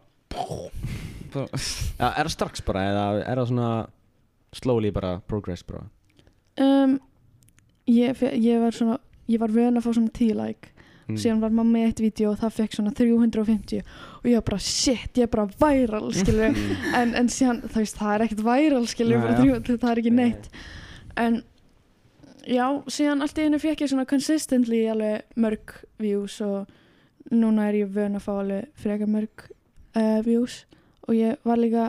Bara- Já, er það strax bara eða er það svona slowly bara progress bara um, ég, fe- ég var svona ég var vön að fá svona 10 like Mm. Hmm. síðan var mamma í eitt vídeo og það fekk svona 350 og ég var bara shit, ég er bara viral skilur Mm. en, en síðan, þú veist, það er ekkert viral skilur Nei, bara já. 300, það er ekki neitt en já, síðan allt í einu fekk ég svona consistently alveg mörg views og núna er ég vön að fá alveg frekar mörg uh, views og ég var líka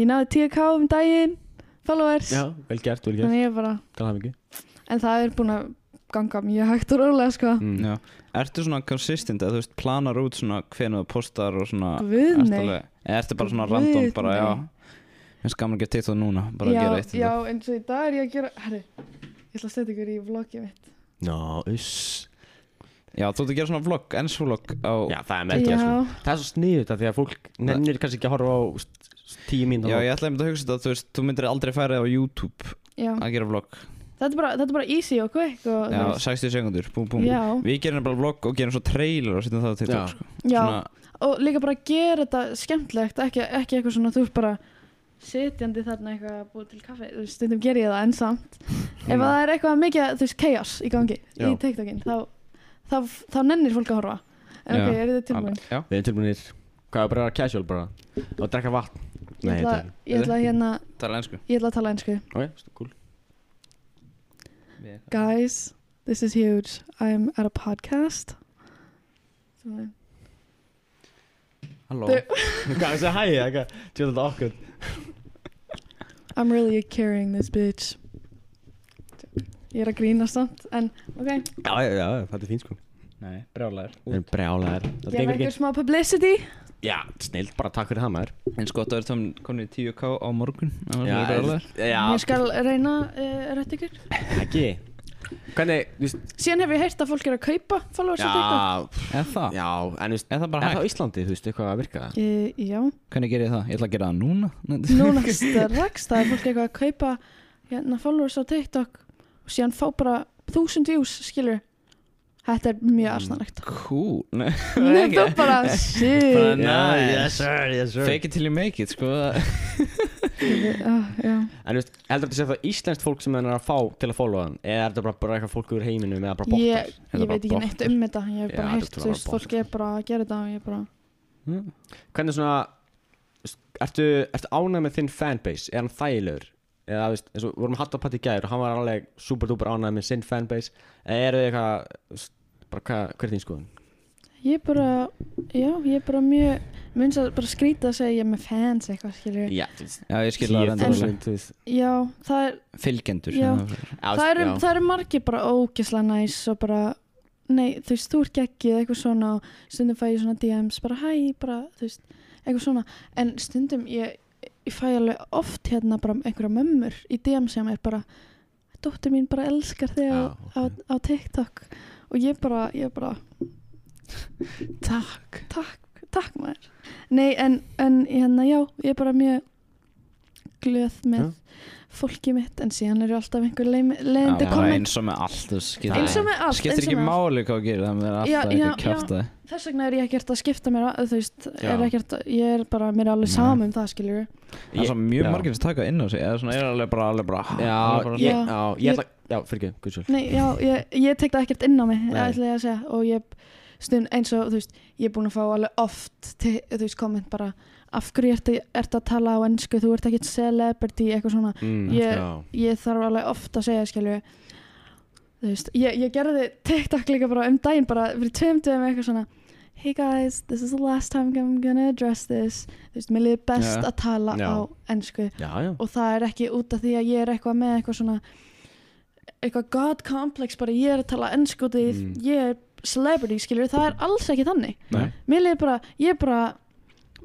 ég náði 10k um daginn followers, Já, vel gert, vel gert, þannig ég bara tala hafa mikið en það er búin að ganga mjög hægt og rólega sko, mm. Já. Ertu svona consistent eða þú veist planar út svona hvernig þú postar og svona guð ertu nei alveg- Eða ertu bara svona Guð, random bara nei. já Mér finnst gaman að gera TikTok núna bara að já, gera eitt já, eins og í dag er ég að gera herri, ég ætla að setja ykkur í vlogið mitt Ná, uss já, þú ert að gera svona vlog, ens vlog á, Já, það er merkilegt sko Það er svo sniðut að því að fólk nennir kannski ekki að horfa á st- st- tíu mínu já, ég ætla einmitt að hugsa þetta þú veist, þú myndir aldrei færa á YouTube já, að gera vlog þetta er bara, þetta er bara easy og quick og, Já, þú veist, 60 sekundur, búm búm já, Við gerum bara vlogg og gerum svo trailer og setjum það til Já. TikTok sko. já, Svona- og líka bara gera þetta skemmtlegt, ekki, ekki eitthvað svona þú ert bara sitjandi þarna eitthvað að búa til kaffi, þú veist, stundum ger ég það en samt ef að það er eitthvað mikið, þú veist, chaos í gangi Já. í TikTokin, þá, þá þá nennir fólk að horfa en Já. ok, er þetta tilbúin? Já, Við erum tilbúinir Hvað er bara að vera casual bara Og drekka vatn Ég Nei, ætla, þetta er ég ætla að hérna, það er einsku ég ætla að tala einsku Ok, st- cool Guys, this is huge. I'm at a podcast. Svona. Halló Þau- Hvað er það að hæja eitthvað Tjóða þetta okkur I'm really carrying this bitch. Ég er að grína samt, en ok, Já, já, já, já, þetta er fín sko Nei, brjálæður Það er brjálæðar Þetta gefa gengur ykkur ekki smá publicity. Já, snill, bara takk fyrir það maður En sko, það er tóm komin í 10k á morgun annars verður brjálæður. já Ég skal reyna uh, rétt ykkur. Ekki Hvernig, þú veist Síðan hef ég heyrt að fólk er að kaupa followers á TikTok. pff, Er það? Já, en þú veist Er það bara Er það á hægt? Íslandi, þú veist, eitthvað að virka það? Uh, já, Hvernig ger ég það? Ég ætla að gera það núna núna strax, það er fólk eitthvað að kaupa hérna, followers á TikTok og síðan fá bara þúsund views, skilur. Þetta er mjög Mm. aðsnarlegt. Cool Nei, Nei, það er bara, Bara shit. nice. sir, yes Fake it till you make it, sko Uh, já. En þú veist, heldur þetta að það íslenskt fólk sem hann er að fá til að followa hann Eða er þetta bara, bara eitthvað fólk úr heiminum eða bara bóttar? ég, ég Þetta bara veit ekki neitt bottar. um þetta ég hef Já, bara þetta heyrt, er þú veist, bara fólk er bara að gera þetta og ég er bara, Hvernig svona, þú veist, ertu, ertu ánægð með þinn fanbase? Er hann þægilegur? eða þú veist, eins og við vorum hatt á patti í gær og hann var alveg super duper ánægð með sinn fanbase eða eru þið eitthvað þú veist, bara hvað, hver er þín skoðun? Ég er bara, já, ég er bara mjög, munst að bara skrýta að segja ég er með fans eitthvað, skilur Já, þú veist Já, ég skil það reyndar alveg. þú veist Já, það, er, Fylgjendur Já. sem það- Já, það, eru, já. það eru margir bara ógislega næs og bara, nei, þú veist, þú ert geggið eitthvað svona og stundum fæ ég svona DMs, bara hæ, bara, þú veist, eitthvað svona. En stundum ég, ég fæ alveg oft hérna bara einhverja mömmur í DMs sem er bara, dóttir mín bara elskar þig á, Já, á, á TikTok og ég bara, ég bara, Takk takk, takk maður Nei, en, en hérna, já, ég er bara mjög glöð með fólkið mitt en síðan eru alltaf einhver leiðandi Já, bara komment eins og með allt þú skiptir- eins og með allt, Skiptir eins og ekki með allt. máli hvað þú gerir Það er Já, alltaf já, eitthvað kjátt að þess vegna er ég ekkert að skipta mér að, þú veist, Já. er ekkert, ég er bara mér er alveg Nei. sama um það, skilur við Það er Ég- svo mjög já. margir sem taka inn á sig Eða svona er alveg bara, alveg bara Já, alveg bara- ég, Já. já, ég ætla Já, fyrir ekki, guð svo Nei, já, ég, ég tek það ekkert inn á mig Nei. ætla ég að segja og ég stund eins og þú veist, ég er búin að fá alveg oft til, þú veist, komment bara af hverju ertu, ertu að tala á ennsku þú ert ekkert celebrity, eitthvað svona mm, Ég- já. ég þarf alveg oft að segja skilju þú veist, ég, ég gerði TikTok líka bara um daginn bara fyrir tveim dögum eitthvað svona hey guys, this is the last time I'm gonna address this þú veist, mér liður best Já. að tala Já. á ennsku já, já og það er ekki út af því að ég er eitthvað með eitthvað svona eitthvað god complex bara ég er að tala ennsku út af því Mm. ég er celebrity skilju, það er alls ekki þannig Nei. mér liður bara, ég er bara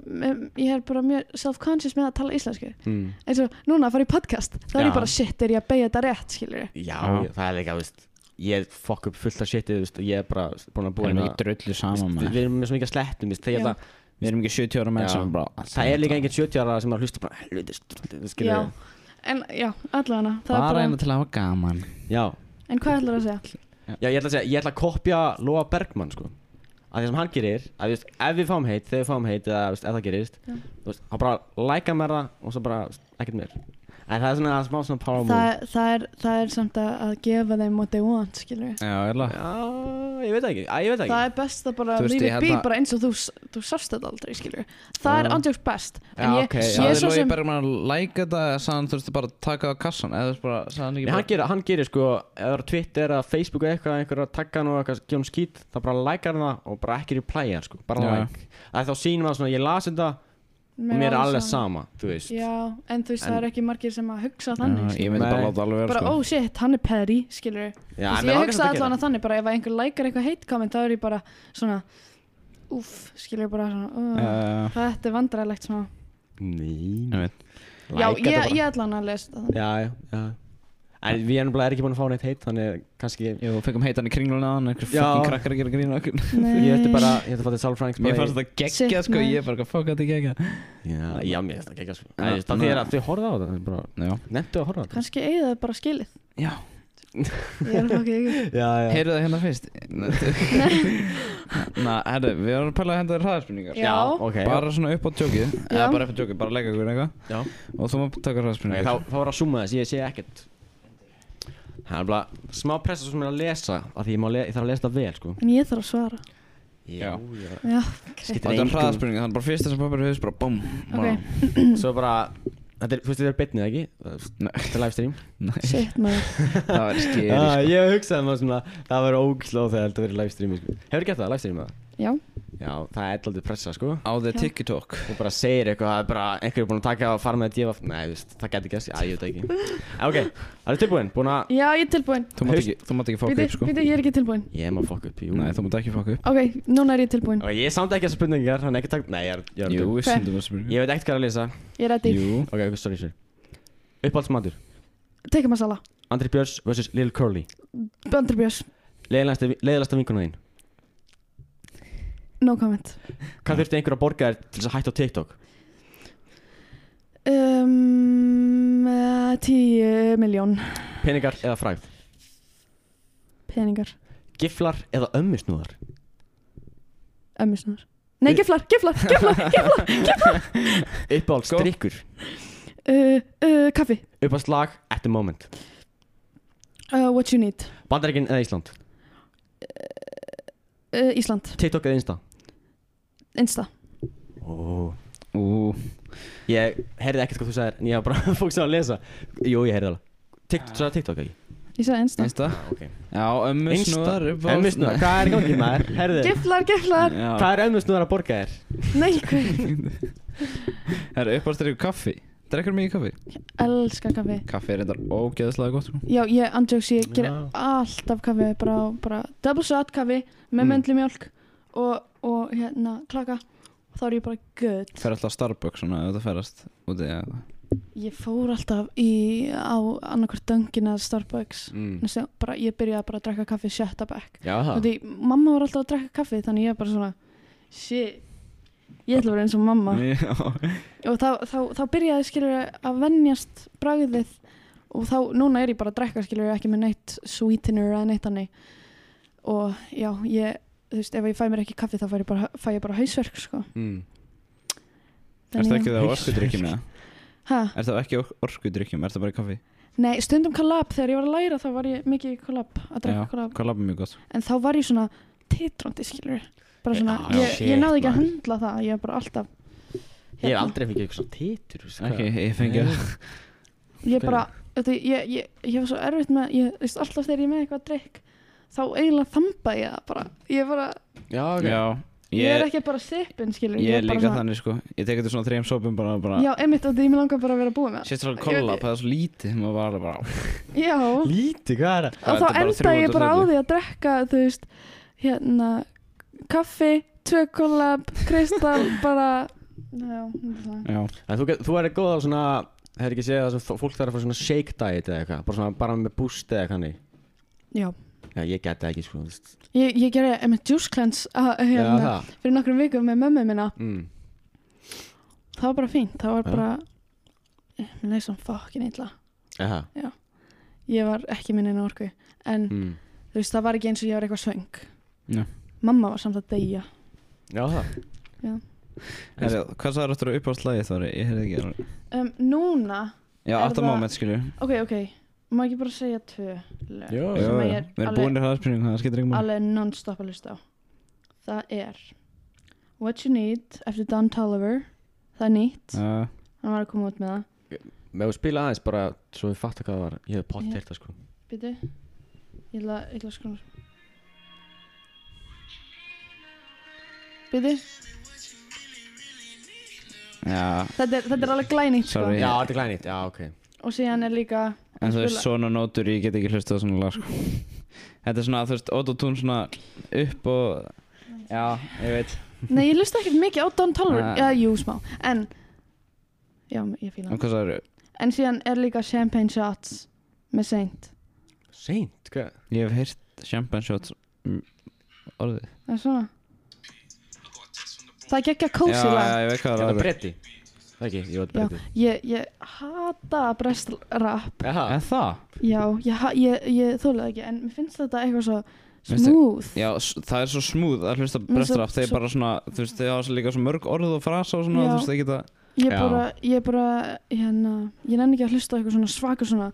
mm, ég er bara mjög self-conscious með að tala íslensku mm. eins og núna að fara í podcast þá er Já. ég bara shit er ég að beigja þetta rétt skilur ég Já, Já. ég- það er líka, þú veist Ég fokk upp fullt af shitið, þú veist og Ég er bara búin að Við búa erum hérna- ekki drullu saman Við maður. við erum með svo mikið slettum, þú veist Já. Þegar það, Við erum ekki 70 ára menn Já. sem bara það er líka enginn 70 ára sem er að hlusta bara Helviti, þú skilur já. við. en já, allavega það er Bara bara, einu til að hafa gaman Já, en hvað ætlar að segja? já, ég ætla að segja Ég ætla að kopja Lóa Bergmann, sko að því sem hann gerir, að þú veist, ef við fáum heit þegar við fáum heit, eða þú veist, ef það gerist Já. þú veist, þá bara læka mér það og svo bara, þú veist, ekkert mér en það er svona smá svona power move Það, það, er, það er samt að, að gefa þeim what they want skilur ég Já, erlega Já, Ah, ég veit það ekki, Æ, ég veit það ekki það er best að bara Þú veist, leave ég it be held að- bara eins og þú, s- þú sást þetta aldrei skilur ég það er hérna- Já. andjóks best en Já, ég, ok, já. ég er Það er svo logið sem bara mann að læka þetta Sann þú veist bara að taka á kassan Eða þú veist bara Sann ekki Nei, hann bara gerir, hann gerir sko, ef það er á Twitter eða Facebook eða eitthvað, einhver er að taka hann og eitthvað, gefa hann skýt, þá bara lækar hann það og bara ekki replaya hann sko, bara Já. like. Það er þá sýnum að svona, ég las þetta og mér er alveg sama, þú veist. já, en þú veist það En- er ekki margir sem að hugsa Já, þannig Ég skilur. myndi sko. bara Nei. láta alveg vera bara sko oh shit, hann er perri skilur ég Þú veist, Já, mér ég langar hugsa samt að gera allan að þannig bara ef einhver lækar eitthvað heitt komment þá er ég bara svona uff, skilur ég bara svona uh, Eh, þetta er vandræðilegt smá Nei, Ég veit já, ég, Læka þetta bara. ég allan að lesa það Já, já, já. En við erum bara ekki búin að fá neitt heit, þannig kannski, Jú, fengum heitan í kringlun á hann Einhver Já. fucking krakkar að gera grín á okkur ég ætti bara, ég ætti að fá til sálfræðings Mér bara fannst þetta geggja Shit, sko maður. Ég er bara að fuck þetta geggja í- Já, já, mér finnst þetta geggjað, sko. Já, Nei, þú veist, þannig það er að- að þau horfðu á þetta, þau bara, Já nefndu að horfa á þetta. kannski eigið það bara skilið Já ég er okkur ekki Já, já. Heyrðu það hérna fyrst Na, herru, við erum að pæla að henda þér hraðarspurningar Já. ok. Bara svona upp á tjókið Já. Eða bara upp á tjókið, bara leika ykkur eitthvað Já. Og þú maður taka Nei, hraðarspurningar þá, þá var að suma þess, ég sé ekkert Það er bara smá pressa sem er að lesa af Því ég, má le ég þarf að lesa það vel, sko en ég þarf að svara Já. já. já, Skiptir Þetta er engu. hraðarspurningar, þannig bara fyrsta sem pappir höfðis bara búm bara- ok, Svo bara, þetta er, þú veist þetta er bitnið, ekki? Nei. Þetta er livestream Nei, shit maður það var skeri Já, sko. Ah, Ég hugsaði maður svona, það verður ógislega þegar þetta verður livestreami, sko Hefur gert það, livestream það? já, Já, það er alltaf pressa, sko Á the Já. TikTok Þú bara segir eitthvað, það er bara einhverjum búin að taka og fara með þetta Nei, þú veist, það gæti gerst, já, ég veit það ekki Ok, það er tilbúin, búin að já, ég er tilbúin Þú mátt ekki, þú mátt ekki fokka býti, upp sko býti, ég er ekki tilbúin Ég má fokk upp, jú Nei, þú mátt ekki fokka upp ok, núna er ég tilbúin Og ég er samt ekki þessar spurningar, hann er ekki takk Nei, ég er, ég er Jú, tilbúinn. við sendum þessu spurningu Ég veit ekkert hvað er að lesa ég er ready, Jú, Ok, ok, sorry, sorry Uppáhaldsmatur teka masala Andri Björns vs. Lil Curly Bandri Björns, Leðilegasta vinkuna þín no comment Hvað þurfti einhver að borga þér til þess að hætta á TikTok? um, uh, 10 miljón Peningar eða frægð? peningar, Giflar eða ömmisnúðar? ömmisnar nei, geflar, geflar, geflar, geflar Uppáhalds Go. drikkur uh, uh, kaffi, Uppáhalds lag at the moment uh, what you need Bandaríkin eða Ísland? uh, Ísland, TikTok eða Insta? Insta Oh. Ú, Ég heyrði ekkert hvað þú sagðir En ég hafa bara fóksað að lesa Jú, ég heyrði alveg TikTok, sagði TikTok ekki? Ég sagði Insta einsta Já, Ah, ok Já, ömmu snúðar upp á Ömmu snúðar, hvað er í gangi maður? Herðu, Giflar, giflar hvað Já, er ömmu snúðar að borga þér? Nei, hvað það er uppástríku kaffi Drekkur mikið kaffi? Elskar kaffi Kaffi er reyndar ógeðslega gott sko. Já, ég andjóks, ég ger Já. alltaf kaffi bara, bara double shot kaffi með Mm. mm. mjólk og, og hérna klaka þá er ég bara good Fer alltaf á Starbucks svona ef þetta ferast úti eða eitthvað. Ég fór alltaf í á annarkvort döngin að Starbucks Mm. mm. bara, ég byrjaði bara að drekka kaffi sjötta bekk Já, og það því mamma var alltaf að drekka kaffi þannig ég er bara svona shit, ég ætla að vera eins og mamma Já, og þá, þá, þá byrjaði skilur að venjast bragðið og þá núna er ég bara að drekka skilur ekki með neitt sweetener eða neitt hannig og já, ég þú veist, ef ég fæ mér ekki kaffi þá fæ ég bara, fæ ég bara hausverk sko. Mm. Ertu ekki það á Hausverk. orkudrykkjum eða? Hæ? Er það ekki ork- orkudrykkjum, er það bara í kaffi? Nei, stundum kollab, þegar ég var að læra þá var ég mikið í kollab, að drekka kollab Kollab er mjög gott en þá var ég svona titrandi skilur bara svona, Já, ég, Ah, shit, ég náði ekki að maður. hundla það ég er bara alltaf Ég hef aldrei fengið eitthvað svona titur þú veist, Ok, hvað- ég fengi Nei. ég bara, þetta, ég, ég, ég hef svo erfitt með ég, þú veist, alltaf þegar ég er með eitthvað drikk þá eiginlega þamba ég það bara ég, bara, Já, ok Já, ég, er ekki bara sippin skilur Ég er er bara líka þannig sko Ég tek þetta svona þrejum sópum bara, bara já, einmitt, og því ég langar bara að vera búin með Sett svona Ég- kollab, það er svo lítið maður var alveg bara það já, og Lítið, hvað er það? Það er þá þetta bara enda ég bara á 330. því að drekka þú veist, hérna kaffi, tvö kollab kristal, bara já, svona. Já, En þú, get- þú er góð á svona Það er ekki séð það sem þó- fólk þarf að fara svona shake diet eða eitthvað Bara svona, bara með boost eða eitthvað þannig. já Já, ég geti það ekki, sko þú veist. Ég, ég gerði einmitt juice cleanse að, Já, hérna, það fyrir nokkrum vikum með mömmu minna Mm. það var bara fínt, það var Já. bara mér leið svona fokkin illa Jaha, ég var ekki minn einu orku en mm. þú veist, það var ekki eins og ég var eitthvað svöng Já. mamma var samt að deyja Já, það Herri, Hvað sagður þetta uppáhaldslægið þar? Ég heyrði ekki alveg. um, núna, Já, Er after það- moment skilju ok, ok má ekki bara segja tvö lög Jó, Við sem að ég er erum alveg- búinir hraðarspynning, það skiptir ekki máli alveg non-stop að hlusta á það er What You Need eftir Don Tolliver það er nýtt, Já, hann var að koma út með það Með að spila aðeins bara Svo við fattum hvað það var Ég hef pott Já. þetta, sko Býtu Ég ætla ég ætla að skrona Býtu já þetta, er- þetta er alveg glænýtt sko Sorry. Já, þetta er glænýtt, já, ok Og síðan er líka En þú veist, Spila- svona nótur, ég get ekki hlustað á svona lag sko. Þetta er svona, þú veist, autotune svona upp og Já, ég veit Nei, ég lusta ekkert mikið á Don Tolliver Ah. Já, jú, smá En Já, ég fíla Og hann hvað sagður, En síðan er líka Champagne Shots Með Saint Seint, hvað? ég hef heyrt champagne shots mm, Orðið Það er svona Það er ekki að Já, eh. kósi já, lag ég veit hvað Þetta er það er bretti hérna Það ekki, ég var Já, bretti ég, ég hata brest rap Jaha, En það? Já, ég, ha- ég, ég þóla það ekki En mér finnst þetta eitthvað svo Finnst þér- smooth Já, s- það er svo smúð að hlusta Mér finnst brestraf það Þeir svo- bara svona, þú veist, þeir hafa svo líka svo mörg orð og frasa og svona Já. Þú veist, þeir geta Ég Já. bara, ég bara, hérna, ég nenni ekki að hlusta á eitthvað svona svakur svona,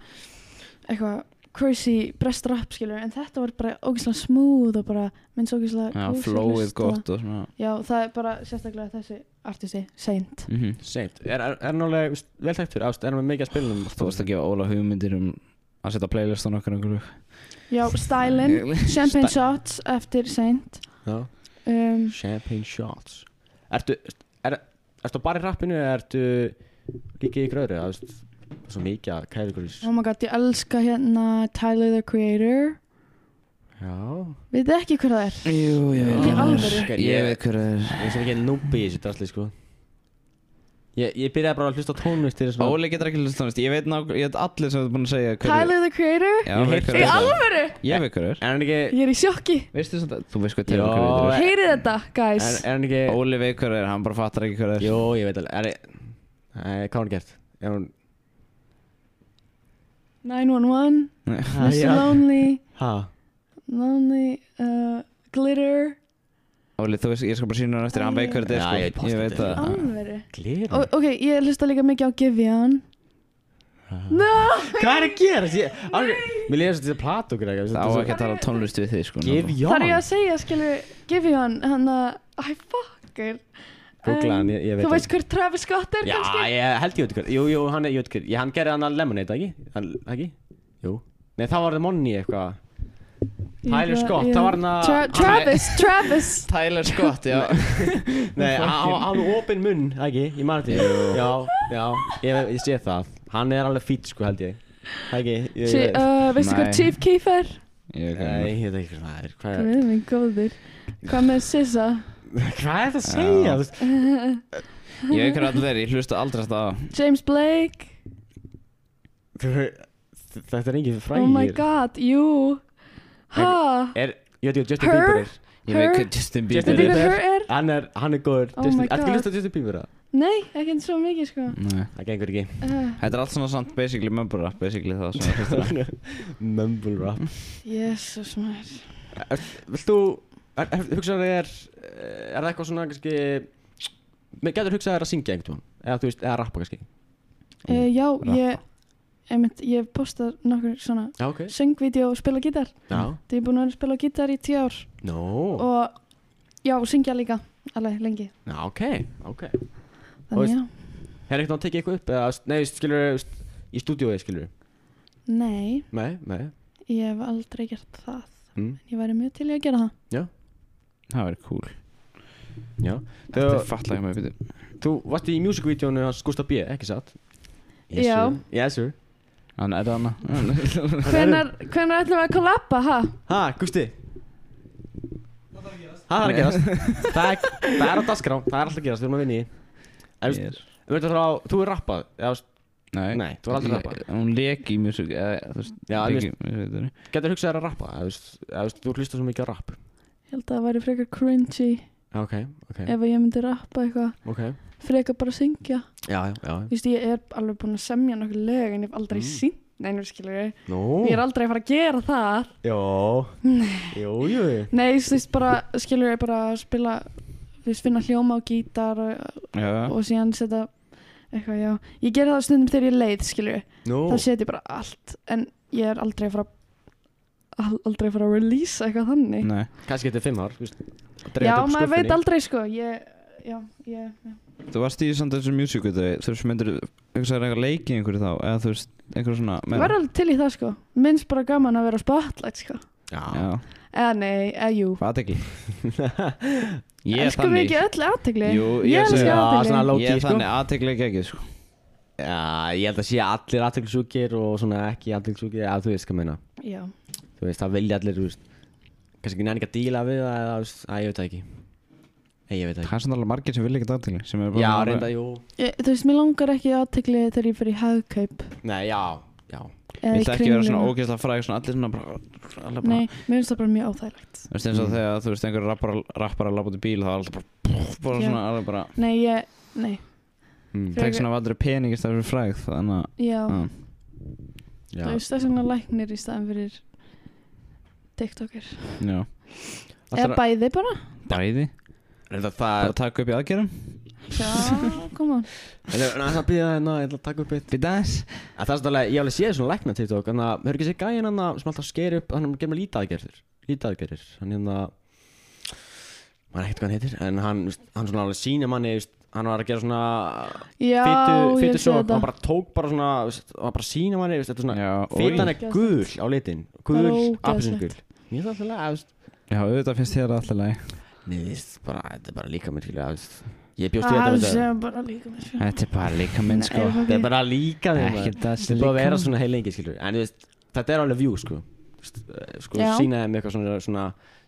eitthvað crazy breast rap, skilur, en þetta var bara ógeðslega smooth og bara, minns ógeðslega Já, kósí að flowið hlusta. gott og svona Já, það er bara sérstaklega þessi artisti, Saint. mm seint Er, er, er nálega veltæktur, ást, erum við mikið að spila um Þú veist að gefa Óla hugmyndir um að setja playlist á nokkar einhverju Já, Stylin, Champagne Shots eftir Saint. Já Um, Champagne shots Ertu, er, ertu bara í rappinu eða ertu líka í gröðri? Það veist, svo mikið að kæri ykkur oh my god, ég elska hérna Tyler the Creator. Já Veit þið ekki hver það er? Jú, ég Í alvöru? veit Ég veit hver það er Ég er sem ekki núbi í þessu drasli, sko Ég, ég byrjaði bara að hlusta á tónlist til þess að Óli getur ekki hlusta tónlist, ég veit, ná, ég veit allir sem þú búin að segja hver Tyler the Creator? Ég Já, ég hef veit hver Í heyrt það er alvöru? Ég veit hver það er Er hann ekki, Ég er í sjokki. Veistu samt að, þú veist hvað Já, Taylor hver það er Heyrið þetta, guys. er, er hann ekki sko. Óli veit hver það er, hann bara fattar ekki hver það er Jó, ég veit alveg, er Nei, hvað hann gert? Er hún 911, Nei. Ha, Mr. Lonely. Ha? Lonely, uh, Glitter Óli, þú veist, ég skal bara sína hann eftir, hann veit hver það Já, er ég sko veit Ég veit pottþétt. það Alvöru Glerum Og- Ok, ég hlusta líka mikið á Givian Ah. Hvað er að gera? Ég, alveg, mér leiðast þetta platu greið Það á ekki að tala um tónlist við þig sko Give náttúrulega. Þar er ég Jón að segja, skilu, Givian Hann að, æ, fucker Googla En hann, ég, ég veit Þú veist hann. hver Travis Scott er Já, kannski? ég held ég veit hver Jú, jú, hann, ég veit hver Ég, hann gerði hann að Lemonade, ekki? Hann, ekki? Jú Nei, þá var það Monni eitthvað Ég Tyler ætla- Scott, ég- það var hann að- Tra hann- Travis, Travis Tyler Scott, já Nei, hann er opinn munn, ekki? Ég maður til Já, já, ég, ég sé það Hann er alveg fýtt, sko, held ég Ekki, ég, Sí, ég, uh, Veistu hver Nei. Chief Keef er? Nei, Ég kann- ég veit ekki hvað það er Hvað Guð er, minn góður Hvað með SZA? hvað er það að segja? Já. Þú veist, ég veit hvað allir er, ég hlusta aldrei þetta á James Blake þú- Þetta er engin frægir Oh my god, jú Ha? Er, ég veit ekki, Justin Her? Bieber er Ég veit Her? hvað Justin Justin Veitu Bieber hver er hör er? Hann er, hann er góður Oh Justin, my Ertu God. ekki hlustað Justin Bieber það? Nei, ekki svo mikið sko Nei. Það gengur ekki uh, Þetta er allt svona samt basically mumble rap basically það sem Mumble rap Jesus maður Vilt þú, er- er- hugsaðu þér Er það eitthvað svona kannski Mér getur hugsað þér að syngja einhvern veginn Eða þú veist, eða rappa kannski Mm. uh, Já, rappa. ég einmitt, Ég posta nokkur svona Já, ok söngvídeó og spila gítar Já Það er búin að vera að spila á gítar í tíu ár No og já, syngja líka alveg lengi Já, ok, ok Og Þannig já, Er eitthvað að tekið eitthvað upp? Eða, nei, skilur Í stúdíói, skilur nei, Nei, nei ég hef aldrei gert það mm. ég væri mjög til í að gera það Það verður cool Já Þetta er fatla ekki með byrju Þú varst í music-vídeónu hans Gustaf B, ekki satt? Já. sir. Yes, sir Þannig er það hana Hvenar, hvenar ætlum við að kollabba, ha? Ha, Gusti Það þarf að gerast Það er að gerast Það er á dagskrá Það er alltaf að gerast, við erum að vinna í því. En þú veist, Ég er- þú veist, þú veist, þú er rappað eða, þú veist, Nei Nei, þú er aldrei rappað Ég- Hún leik í mjög svo Þú veist Já, leik þú í mjög svo Getur hugsað þér að rappa eða, þú veist, eða, þú veist, Þú hlustar svo mikið á rapp Ég held að það væri frekar cringy Ok, ok, ef að ég myndi rappa eitthvað ok frekar bara syngja Já, já, já Vist, ég er alveg búin að semja nokkuð lög en ég hef aldrei Mm. Oh. mm. sínt neinu skilur ég Nú er aldrei að fara að gera það Jó Jú, jú Nei, þú veist bara, skilur ég bara að spila þú veist, finna hljóma á gítar og, Já já. og síðan setja eitthvað, já Ég geri það stundum þegar ég er leið, skilur ég Nú þá setja ég bara allt en ég er aldrei að fara al- aldrei að fara að release eitthvað þannig Nei Kannski þetta er fimm ár þú veist, að dreifa Já, þetta upp maður veit skúffunni. aldrei sko ég, Já, ég, já Þú varst í samt þessu mjög svo Þú veist myndir Hugsaður eitthvað leik í einhverju þá Eða þú veist Einhverju svona Ég var alveg til í það sko Minnst bara gaman að vera á spotlight sko Já, Já Eða nei, eða jú Hvað ekki Ég er Elskum við þannig ekki öll aðtegli? Jú, ég ég elska segi- Já, aðtegli svona- Ég low-key, er sko. þannig aðtekli ekki ekki sko Já, ég held að sé allir aðtöklusúkir og svona ekki aðtöklusúkir, eða þú veist hvað ég meina Já, Þú veist, það vilja allir, þú veist Kannski ekki nefnir að díla við það, eða, þú veist, að ég veit það ekki Nei, ég veit það Það ekki er samt alveg margir sem vilja ekki aðtekli Sem er bara Já, svona- reynda, jú ég, þú veist, mér langar ekki í aðtegli þegar ég fyrir í hagkaup Nei, já, já eða í Viltu ekki vera svona Kringluna. ógeðslega fræg Svona allir svona bara Alla bara Nei, mér finnst það bara mjög óþægilegt Þú veist eins og þegar þú veist einhver rappar, rappar að lappa út í bíl þá er alltaf bara, bara Já. svona alveg bara Nei, ég, nei, mm. Frekar- Tekst svona aldrei pening í stafir frægð þannig að já, já. Já, þú veist, þess vegna læknir í staðan fyrir TikToker já. Eða bæði bara Bæði Reynda, Bara það að taka upp í aðgerum Já, koma Reynda, það býða það hérna, ég ætla að taka upp eitt Býta aðeins En Það er svona, alveg- ég alveg séð svona lækna TikTok Þannig að, hefur ekki séð gæinn hann sem alltaf sker upp Hann gerur með lítaðgerðir Lítaðgerðir, hann hérna maður ekkert hvað hann heitir En hann, þú veist, hann svona alveg sýnir manni, þú veist, hann var að gera svona Já, ég fytu sé sjók og þetta hann bara tók bara svona þú veist, og bara sína manni, veist, þetta er svona Já, fytan oj. er gul á litin gul, Það er ógeðslegt. apelsingul mér er það alltaf lega, veist já auðvitað finnst þér alltaf leið mér veist bara, þetta er bara líka mér skilja, veist ég bjóst við Það þetta þetta Ah, sé bara líka mér fyrir. Þetta er bara líka minn sko Nei, þetta er bara líka mér Ekki maður. það þetta er sem búið að vera líka svona heil lengi skilur en þú veist, þetta er alveg view sko Þú veist, eh, sko Já. sína þeim eitthvað svona, svona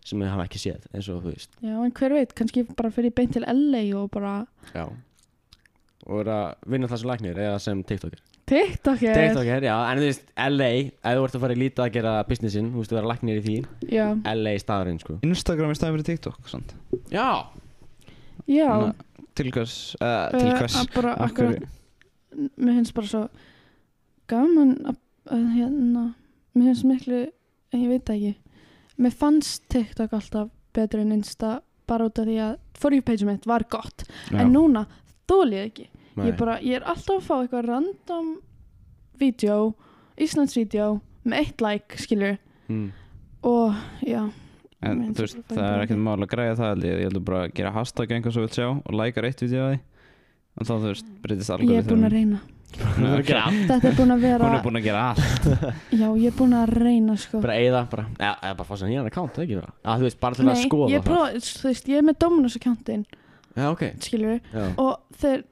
sem við hafa ekki séð eins og þú veist Já, en hver veit, kannski bara fyrir beint til LA og bara já og er að vinna það sem læknir eða sem TikToker TikToker TikToker, já, en þú veist, LA ef þú ert að fara í lítið að gera businessin þú veist, þú vera læknir í því Já, LA staðurinn sko Instagram í stafir TikTok sant? Já já Þannig að Til hvers uh, Til Eh, hvers að bara Af akkurat, hverju? mér finnst bara svo gaman að, að hérna mér finnst miklu, en ég veit það ekki mér fannst TikTok alltaf betur en Insta bara út af því að for you page mitt var gott Já. en núna þóli ég ekki Nei. ég, bara, ég er alltaf að fá eitthvað random vídeo, Hmm. Íslands vídeo með eitt like skilur mm. og já, en Ég meina, þú veist, það er bara það er fine ekkert mál að græja það held ég, ég heldur bara að gera hashtag einhvern sem vil sjá og lækar eitt vídeo að því en þá þú veist, breytist algjörð Ég er búin að reyna Þú þurfir að Þetta er búin að vera hún er búin að gera allt Já, ég er búin að reyna sko bara eyða bara, eða, eða bara fá sér nýjan account, það er ekki vera að þú veist, bara til að Nei, skoða ég prófa, þú veist, ég er með Dominos akkjántin það já, ok, skilur við já, og þeir,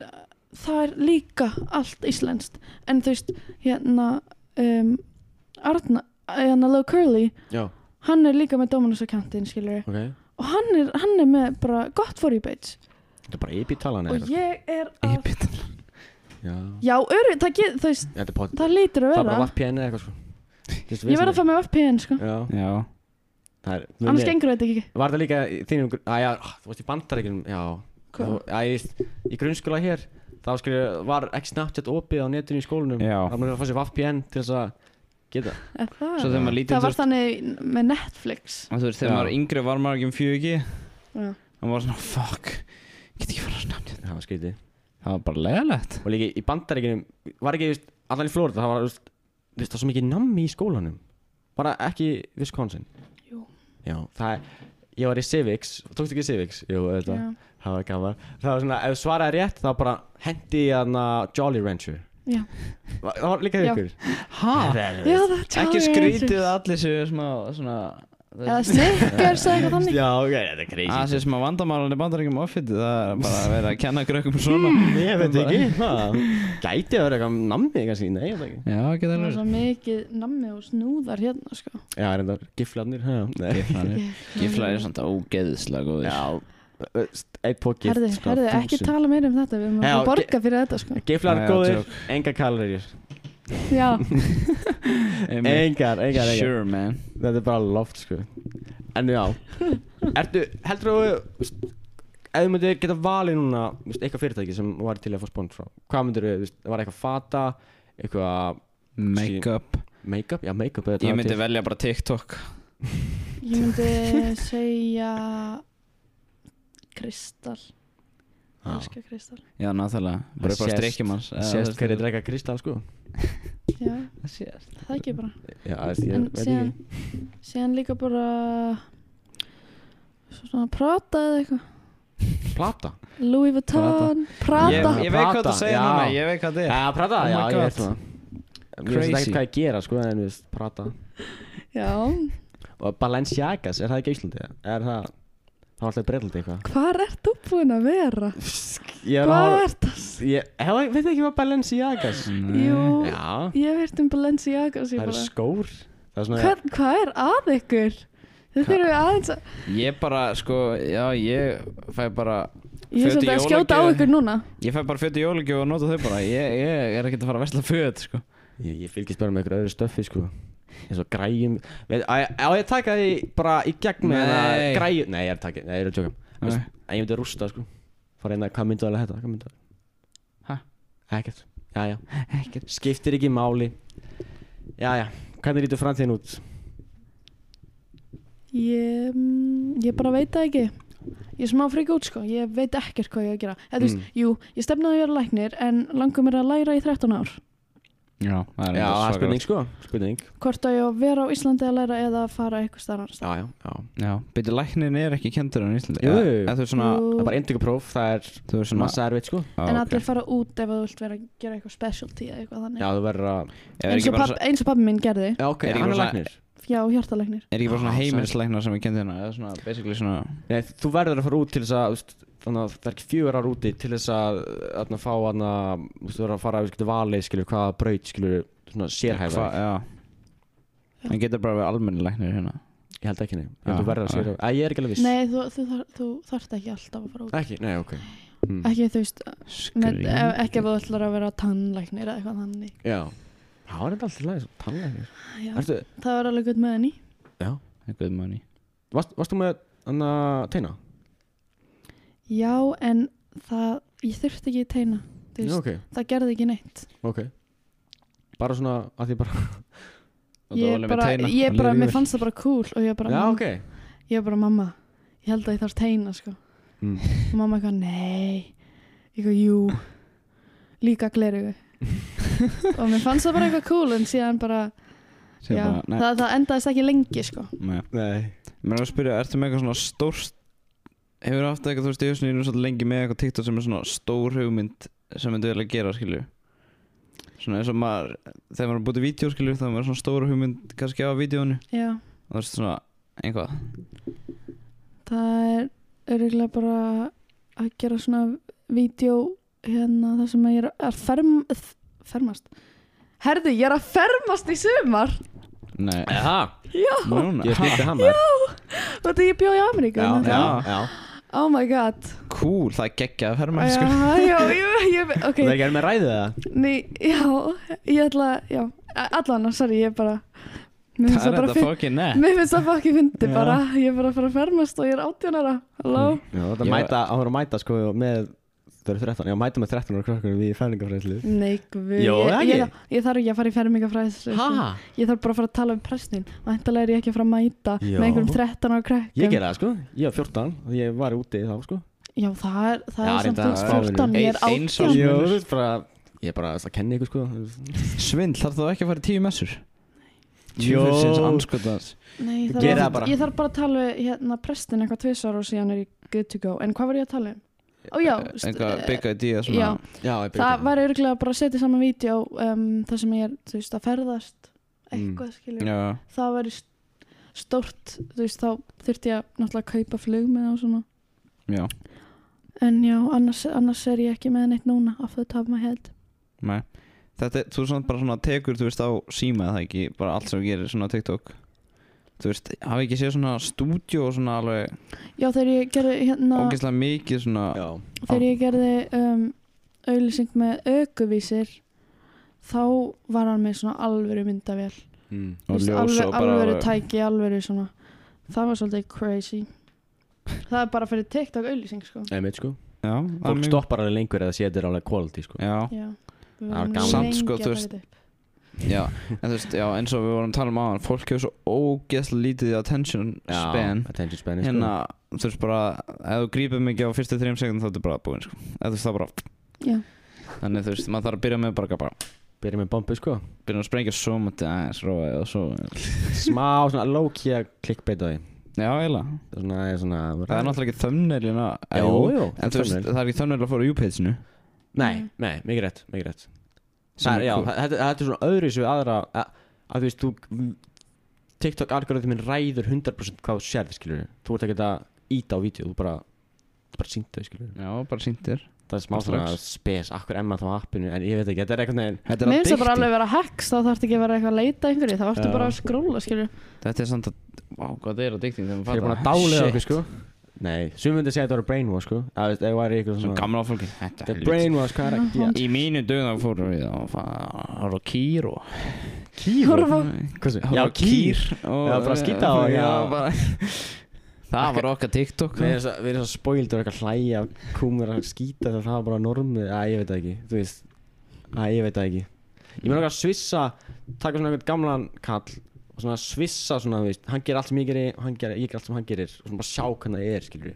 það er líka allt íslenskt en þú veist, hérna um, Arna, hérna Low Curly já, hann er líka með Dominos akkjántin skilur við ok og hann er, hann er með bara gott for you page þetta er bara epitalan og ég er ég að býtt já, já, öru, það, get, þú veist, þetta er pot það lítur að það er bara vera VPN eða eitthvað sko Þú veist, ég verð vesen- að fá með VPN sko já, já, það er annars gengur þetta ekki var það líka í þínum gr- að já, þú veist, í bandaríkjunum, já Hvað? þú, að ég, í grunnskóla hér þá skilur, var ekki Snapchat opið á netinu í skólanum Já. þá maður að fá sér VPN til þess að geta Er það, svo þegar maður lítið það þú var veist, þannig með Netflix að þú veist, þegar Já. maður var yngri var maður ekki um fjögi já. og maður var svona, fuck, ég get ekki fara að snabbt það var skrítið það var bara legalegt og líka í bandaríkinum var ekki, þú veist, allan í Florida það var, þú veist, þú veist, það var svo mikið nammi í skólanum bara ekki Wisconsin Jú. já, það er ég var í Civics, tókstu ekki Civics? Jú, þetta, Já. það var gaman það var svona, ef þú svaraði rétt, þá bara hendi ég hana Jolly Rancher Já. Va- það var líka Já. ykkur ha, Já, það er ekki Jolly skrítið Ranchers. að allir séu smá svona þú eða veist, Snickers eða eitthvað þannig já, ok, þetta er að það crazy séu smá vandamálan í bandaríkjum offitið það er bara að vera að kenna grökkum svona ég veit ekki, hvað gæti að vera eitthvað nammi, kannski, nei, ég veit ekki já, geta Það var alveg svo mikið nammi og snúðar hérna sko. já, reyndar, giflarnir, hæ, nei Giflanir Giflanir er samt ógeðislega góðir já, ö, st- einn pókitt Herði, herði, ekki tala meira um þetta Við erum að Já, fá að ok. borga fyrir þetta sko. Giflar Já, já, góðir, joke. enga kaloríur Já, Einmitt. Engar, engar, engar Sure man Þetta er bara loft sko En já Ertu, heldur þú veist, Ef þú myndir geta valið núna þú veist, Eitthvað fyrirtæki sem þú væri til að fá spónd frá Hvað myndir þú, veist, var eitthvað fata Eitthvað Make-up make-up, já make-up er þetta Ég myndi til. velja bara TikTok ég myndi segja Kristall Já. Elskar Kristall Já, náttúrulega Það Bara upp á sést- strikkjum hans eða, Sést þú hverju veist, drega kristall sko Já, það sést. það ekki bara Já, þú veist, ég En veit síðan, ekki síðan líka bara Svona Prata eða eitthvað Plata Louis Vuitton, Prata, Ég, ég veit hvað þú Prata, segir já. núna Ég veit hvað þið er Já, prata, Oh já, my ég God. veit það Mér finnst Crazy. ekki hvað ég gera sko En þú veist, prata Já, Og Balenciagas, er það ekki á Íslandi? Er það, það var alltaf breytlandi eitthvað hvar ert þú búin að vera? Ég er að Hvað horfa- ert það? Ég, hef, veit ekki hvað Balenciagas Jú, Já, ég hef hirt um Balenciaga það sko- eru skór Það er svona Hvað, hvað er að ykkur? Þið þurfum aðeins að Ég bara, sko Já, ég fæ bara Ég er Föt í svolítið að skjóta á jólagjöf. ykkur núna Ég fæ bara föt í jólugjöf og nota þau bara Ég, ég er ekkert að fara að vesla föt, sko Ég, ég fylgist bara með einhverju öðru stöffi sko eins og græjum Veit- Á ég- á ég að taka því bara í gegn með Nei. það græjum Nei, ég er að taka, nei, ég er að tjóka En Nei. ég myndi að rústa sko Fara einna, hvað myndu alveg þetta, hvað myndu Ha? Ekkert, já, já Ekkert Skiptir ekki máli Já, já, hvernig lítur framtíðin út? Ég, mm, ég bara veit það ekki Ég er smá frík út sko Ég veit ekkert hvað ég á að gera Eða, þú veist, Mm. Jú, ég stefnaði að vera læknir En langar mér að læra í 13 ár Já, það er Já, það er svakalegt. spurning sko, spurning Hvort að ég á að vera á Íslandi að læra Eða að fara eitthvað starf Já, já, já Já, byrju læknin er ekki kendur en Íslandi Jú, Eða- jú. eða Þú er svona Það er bara endurkapróf, það er Þú er svona massa erfitt sko Á, En ok. allir fara út ef þú vilt vera að gera eitthvað specialty eða eitthvað þannig Já, þú verður að Er eins, ekki og bara papp, eins og pappi minn gerði Já, ok, Er ekki hann bara er svona- læknir Já, hjartalæknir Er ekki bara svona Ah, heimilisleiknar sem við kendum hérna eða svona basically svona Nei, þú verður að fara út til þess að þú veist, þannig að það er ekki fjögur ár úti til þess að þannig að fá þannig að þú veist, þú verður að fara að við valið skilur hvaða braut skilur svona sérhæfa Hva- Já En getur bara verið almennileiknir hérna ég held ekki nei ég held Já, þú verður að já. sérhæfa að ég er ekki alveg viss Nei, þú, þú, þar, þú þarft ekki alltaf að fara út ekki nei ok mm. Ekki, þú veist, Með, Skrýn ef, ekki ef þú ætlar að vera tannlæknir eða eitthvað þannig já það var þetta alltaf lægis tannlæknir já, ertu það var alveg gutt með henni Good money varst, varst þú með hann að teina já en það ég þurfti ekki teina þú já veist, ok það gerði ekki neitt ok bara svona að því bara ég bara, ég bara mér fannst það bara cool og ég bara, já "Mamma," ok ég bara mamma ég held að ég þarf teina sko Mm. og mamma eitthvað nei eitthvað jú líka glerugu og mér fannst það bara eitthvað cool en síðan bara Segja Já, bara, nei, það, það endaðist ekki lengi sko nei. Nei Mér er að spyrja, ertu með eitthvað svona stórt Hefur haft eitthvað, þú veist, í hausnum þínum svolítið lengi með eitthvað TikTok sem er svona stór hugmynd sem myndi vel að gera, skilju Svona eins og maður, þegar maður er búið í vídeo, skilju, þá er maður svona stór hugmynd kannski á vídeónu Já, og það er svona einhvað það er öruglega bara að gera svona vídeo hérna þar sem ég er að ferm, þ- fermast Herðu, ég er að fermast í sumar Nei, Jaha, Já, núna ég skilti hann maður og þetta ég bjóð í Ameríku Já, þannig já, að- já Oh my god Cool, það er geggjað að ferma, Já, skilju já, ég, ég, ok Það er ekki að með ræðið það Ný, já, ég ætla já, allan, sorry, ég bara Mér finnst það Það er bara þetta fyndið fucking net Mér finnst það bara ekki fyndi Já. bara Ég er bara að fara að fermast og ég er 18 ára Halló Já, það er Ég- mæta, hann var að mæta sko með Það eru 13, já mæta með 13 ára krakkunum í fælingafræðslu Nei, guð Jó, ég, það ég, ekki. þarf- ég þarf ekki að fara í fermingafræðslu sko. Ég þarf bara að fara að tala um prestin Væntalega er ég ekki að fara að mæta Já. með einhverjum 13 ára krakkum Ég gerði það sko, ég var 14 og ég var úti þá sko Já, það er, það Já, er samt reyndar- út 14 Ég er Ein- eins árs 18 Jó, munur. þú veist bara, ég er bara að kenna ykkur sko Svindl, þarf það ekki að fara í tíu messur? Jó. Tjúfisins anskotans Nei, ég þarf, Þú gerir það að, bara. ég þarf bara að tala við, hérna, prestin eitthvað tvisar og síðan er ég good to go En hvað var ég að tala um? Ó já, st- Einhvað eh, big idea já, svona Já, ég það væri örgulega bara að setja saman vídeo um, þar sem ég er, þú veist, að ferðast eitthvað mm. skilur Já, það væri st- stórt þú veist, þá þurfti ég að náttúrulega kaupa flug með og svona já, en já, annars, annars er ég ekki með neitt núna af þau tafum að held nei Þetta, er- þú samt bara svona tekur, þú veist, á síma það ekki, bara allt sem þú gerir svona á TikTok Þú veist, hafi ekki séð svona stúdíó og svona alveg já, þegar ég gerði hérna ógeðslega mikið svona Já, þegar ég gerði um, auðlýsing með aukuvísir þá var hann með svona alvöru myndavél mm. Þú og veist, ljós og alveg, bara alvöru tæki, alvöru svona það var svolítið crazy það er bara fyrir TikTok auðlýsing sko Einmitt sko Já, það er Fólk mjög- stoppar alveg lengur eða setur alveg quality sko Já, já, við Það var vorum gaman. Samt, lengi sko, að þú taka veist, þetta upp. já, en þú veist, já, eins og við vorum að tala um áðan Fólk hefur svo ógeðslega lítið í attention span Attention span sko. er, Hérna, þú veist bara, ef þú grípur mikið á fyrstu þrejum sekundum þá er þetta bara búin, sko Eða þú veist, það bara, já, þannig þú veist, maður þarf að byrja með bara, bara sko Byrja með bombu sko Byrja að sprengja svo mútið aðeins, róið og svo Smá svona low-key að klikkbeita því Já, eiginlega Það er svona, það er svona Það er náttúrulega ekki thumbnail hérna Jú, jú. jú, En þú veist, thumbnail. það er ekki thumbnail að fóra U-page-inu Nei, Mm. nei, mikið rétt, mikið rétt Sem Það er, er já, cool. þetta, þetta er svona öðru svo aðra að, að þú veist, þú TikTok algoritmin ræður 100% hvað þú sérð, skilur Þú ert ekki að íta á vídeo, þú bara bara sýndu, skilur Já, bara sýndir Það er smá Bara svona strax. spes, akkur emma þá á appinu en ég veit ekki, þetta er eitthvað neginn Þetta Mér er finnst það bara alveg addicting vera hacks, þá þarf ekki að vera eitthvað að leita einhverju, þá ertu Já. bara að skróla, skilju. Þetta er samt að Vá, hvað þetta er addicting Þeir Þegar maður eru búin að dálega okkur, sko Nei, sum myndi segja að þetta voru brainwash, sko Það veist, ef væri ykkur Svo svona gamla fólki Þetta Þetta er er helvit brainwash, hvað Já, er ekki að Í mínu dögum þá fórum við að fara á kýr og Kýr? Horfa á- Hvað sem- horfa Já, á kýr og- Já, bara að skýta á- Já, já. bara Það var okkar TikTok Við erum svo, við erum svo spoild og eitthvað hlæja Kúmur að skýta þegar það var bara normið Æ, ég veit það ekki, þú veist Æ, ég veit það ekki Ég meina okkar að svissa Taka svona einhvern gamlan kall Og svona svissa svona, þú veist Hann gerir allt sem ég gerir, hann gerir, ég gerir allt sem hann gerir Og svona bara sjá hvernig það er, skilur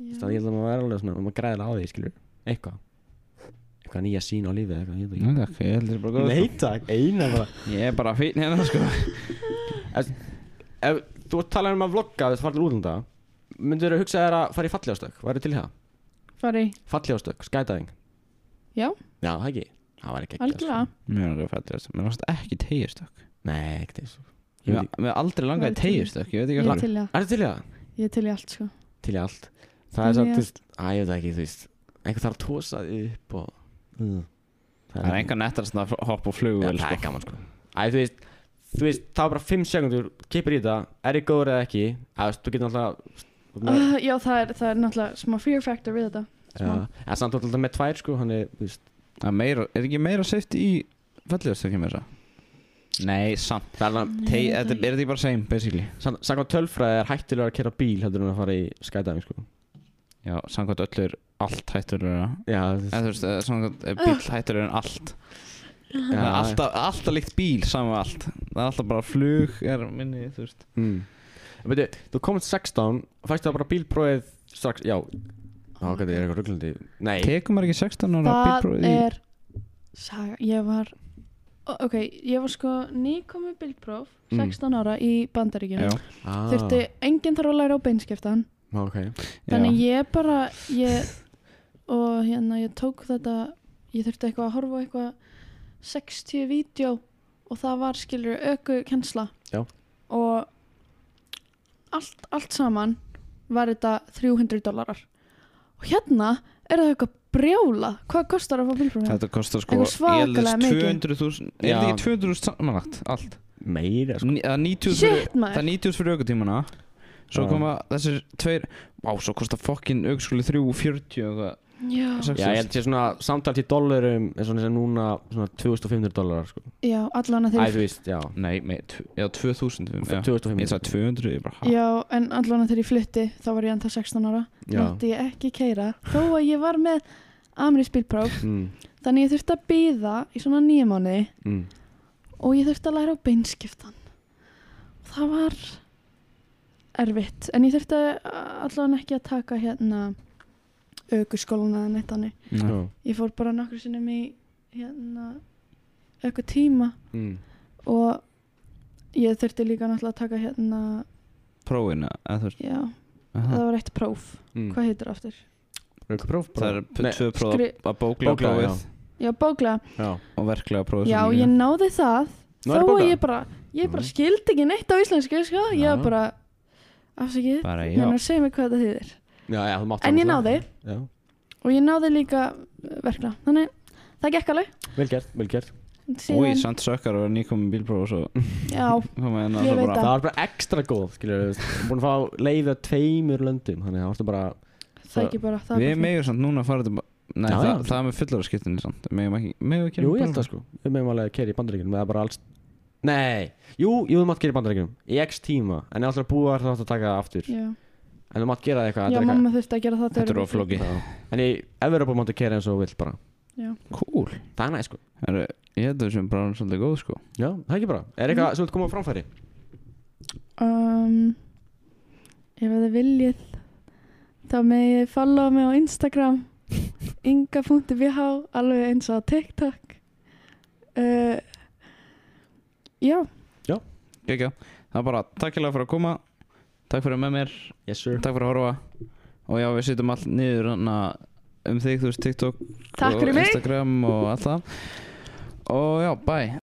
Þannig að ég held að maður vera alveg svona Og maður græðilega á því, skilur Eitthvað Eitthvað nýja sín á lífið, eitthvað, ég veit það Nei, takk, ég held þetta er bara ekki góð sko. Nei, takk, eina bara Ég er bara fín hérna sko Ef þú ert talað um að vlogga, þú ert farið til útlanda Myndur þú hugsa þér að fara í falljástök? Væri til í það? Fari, Falljástök, skætaðing já, Já, það ekki Það sko. var ekki ekki algjörlega. Mér er okkar fættist Mér varst ekki tegjastökk Nei, ekkert eins og Ég veit ekki- Mér er aldrei Ég langaði veit ekki. tegjastökk Ég veit ekki Ég hvað er til í það, Er það til í það? ég er til í allt, sko. Til í allt Það er Til í samt, þú allt. veist Æ, ég veit það ekki, þú veist Einhver þarf að tósa þig upp og Mm. Það er enga nettast að hoppa Já, á flugvél Það er sko. gaman, sko Æ, þú veist Þú veist, það er bara 5 sekundur Kipir í það Er ég góður eða ekki Æ, þú veist, þú getur alltaf Já, Uh, já, það er, það er náttúrulega smá fear factor við þetta. smá. en samt alltaf með tvær, sko Hann er, þú veist Það er meira, er ekki meira safety í felljóðstökjum þessa? Nei, samt Það er alveg Nei, Teg, ég veit það þetta, Er þetta ekki bara same, basically? sam- Samkvæmt tölfræði er hættilega að kera bíl Heldur hún að fara í skydiving, sko Já, samkvæmt öllu er allt hættulegur Já, þú veist Eða þú veist, eh, samkvæmt er bíl hættulegur en allt Já, Það er alltaf, alltaf líkt bíl saman við allt Það er alltaf bara flug er minni, þú veist Mm. Beti, þú komst 16 fæstu það bara bílprófið strax já, þá gæti ég eitthvað rugglandi nei, Tekum maður ekki 16 ára Það bílprófið í er, saga, ég var Ó, ok, ég var sko nýkomi bildpróf Mm. 16 ára í bandaríkjum Já, ah, þurfti, enginn þarf að læra á beinskeftan ok þannig ég bara ég, og hérna ég tók þetta ég þurfti eitthvað að horfa á eitthvað 60 vídeo og það var skilur öku kensla Já. og allt, allt saman var þetta 300 dólarar og hérna er það eitthvað brjóla hvað kostar að fá bílprófið? Þetta kostar sko Eitthvað svakalega ég mikið. held þess Já. 200.000 Er þetta ekki 200.000 samanlagt? Allt eh, meira sko Ní- Það er 90 fyrir- Shit það er maður 90 fyrir aukutímana Svo Já. koma þessir tveir Vá, svo kostar fokkin aukuskóli 340 og eitthvað Já. Já, ég held sé svona samtalt í dollurum eins og sem núna svona 2500 dollar sko. Já, allan að Æ, þeir þú veist, já Nei, með, tv- já, 2000 fyrir mig, já. 2500 Ég sagði 200, ég bara ha. Já, en allan að þeir ég flutti þá var ég enda 16 ára Já mátti ég ekki keira þó að ég var með Amri spilpróf mm, þannig ég þurfti að býða í svona nýja mánu mm. og ég þurfti að læra á beinskiptan og það var erfitt en ég þurfti allavega ekki að taka hérna aukuskóluna eða neitt hannig Já. ég fór bara nokkur sinnum í hérna auku tíma Mm. og ég þurfti líka náttúrulega að taka hérna Prófin eða þú veist já, aha. það var eitt próf Mm. hvað heitir það aftur? Raukapróf bara? Það er p- Nei, tvö próf skri- að bóklega Bóklega, prófið Já, bóklega Já og verklega prófið Já, ég náði það Nú þó er að bókað? ég bara, ég bara Mm. skildi ekki neitt á íslensku sko. ég Já. var bara, afsakið Bara já hérna, segja mér hvað þetta þýðir Já, já, þú mátt en ég alveg náði, það. Já, og ég náði líka uh, verkla, þannig það gekk alveg vel gert, vel gert síðan, Úi, samt sökkar og nýkomum bílpróf og svo já, koma hérna Ég svo veit bara það. Það var bara ekstra góð, skilur við Búin að fá leiði á tveimur löndum Þannig að það varstu bara það ekki bara það Við bara fínt. megum samt núna að fara til Nei, Já, það, já. það er með fullara skiptinni samt Megum ekki, megum ekki Jú, ég held það sko Við meðum alveg að keri í bandaríkjunum Eða bara alls Nei, jú, jú, þú mátt keri í bandaríkjunum Í x tíma En ef þú ætlar að búa þar þá áttu að taka það aftur já, En þú mátt gera það eitthvað já þetta er mamma þurfti að gera það Þetta er öðru- oflóki eitthvað- Já. En í Evropa máttu keri eins og þú vilt bara Cool Það er næ, sko Heru, Ég held það sem bara er svolítið góð sko Já, það er ekki bara Er eitthvað sem þú ert koma á framfæri? um, ef þið viljið þá megið þið follow mig á Instagram inga.bh alveg eins og á TikTok uh, já Gekja Það er bara takk hérlega fyrir að koma Takk fyrir að með mér Yes, sir Takk fyrir að horfa Og já, við setjum allt niður hana, um þig, þú veist, TikTok Takk og fyrir mig. Instagram og allt það Og já, bye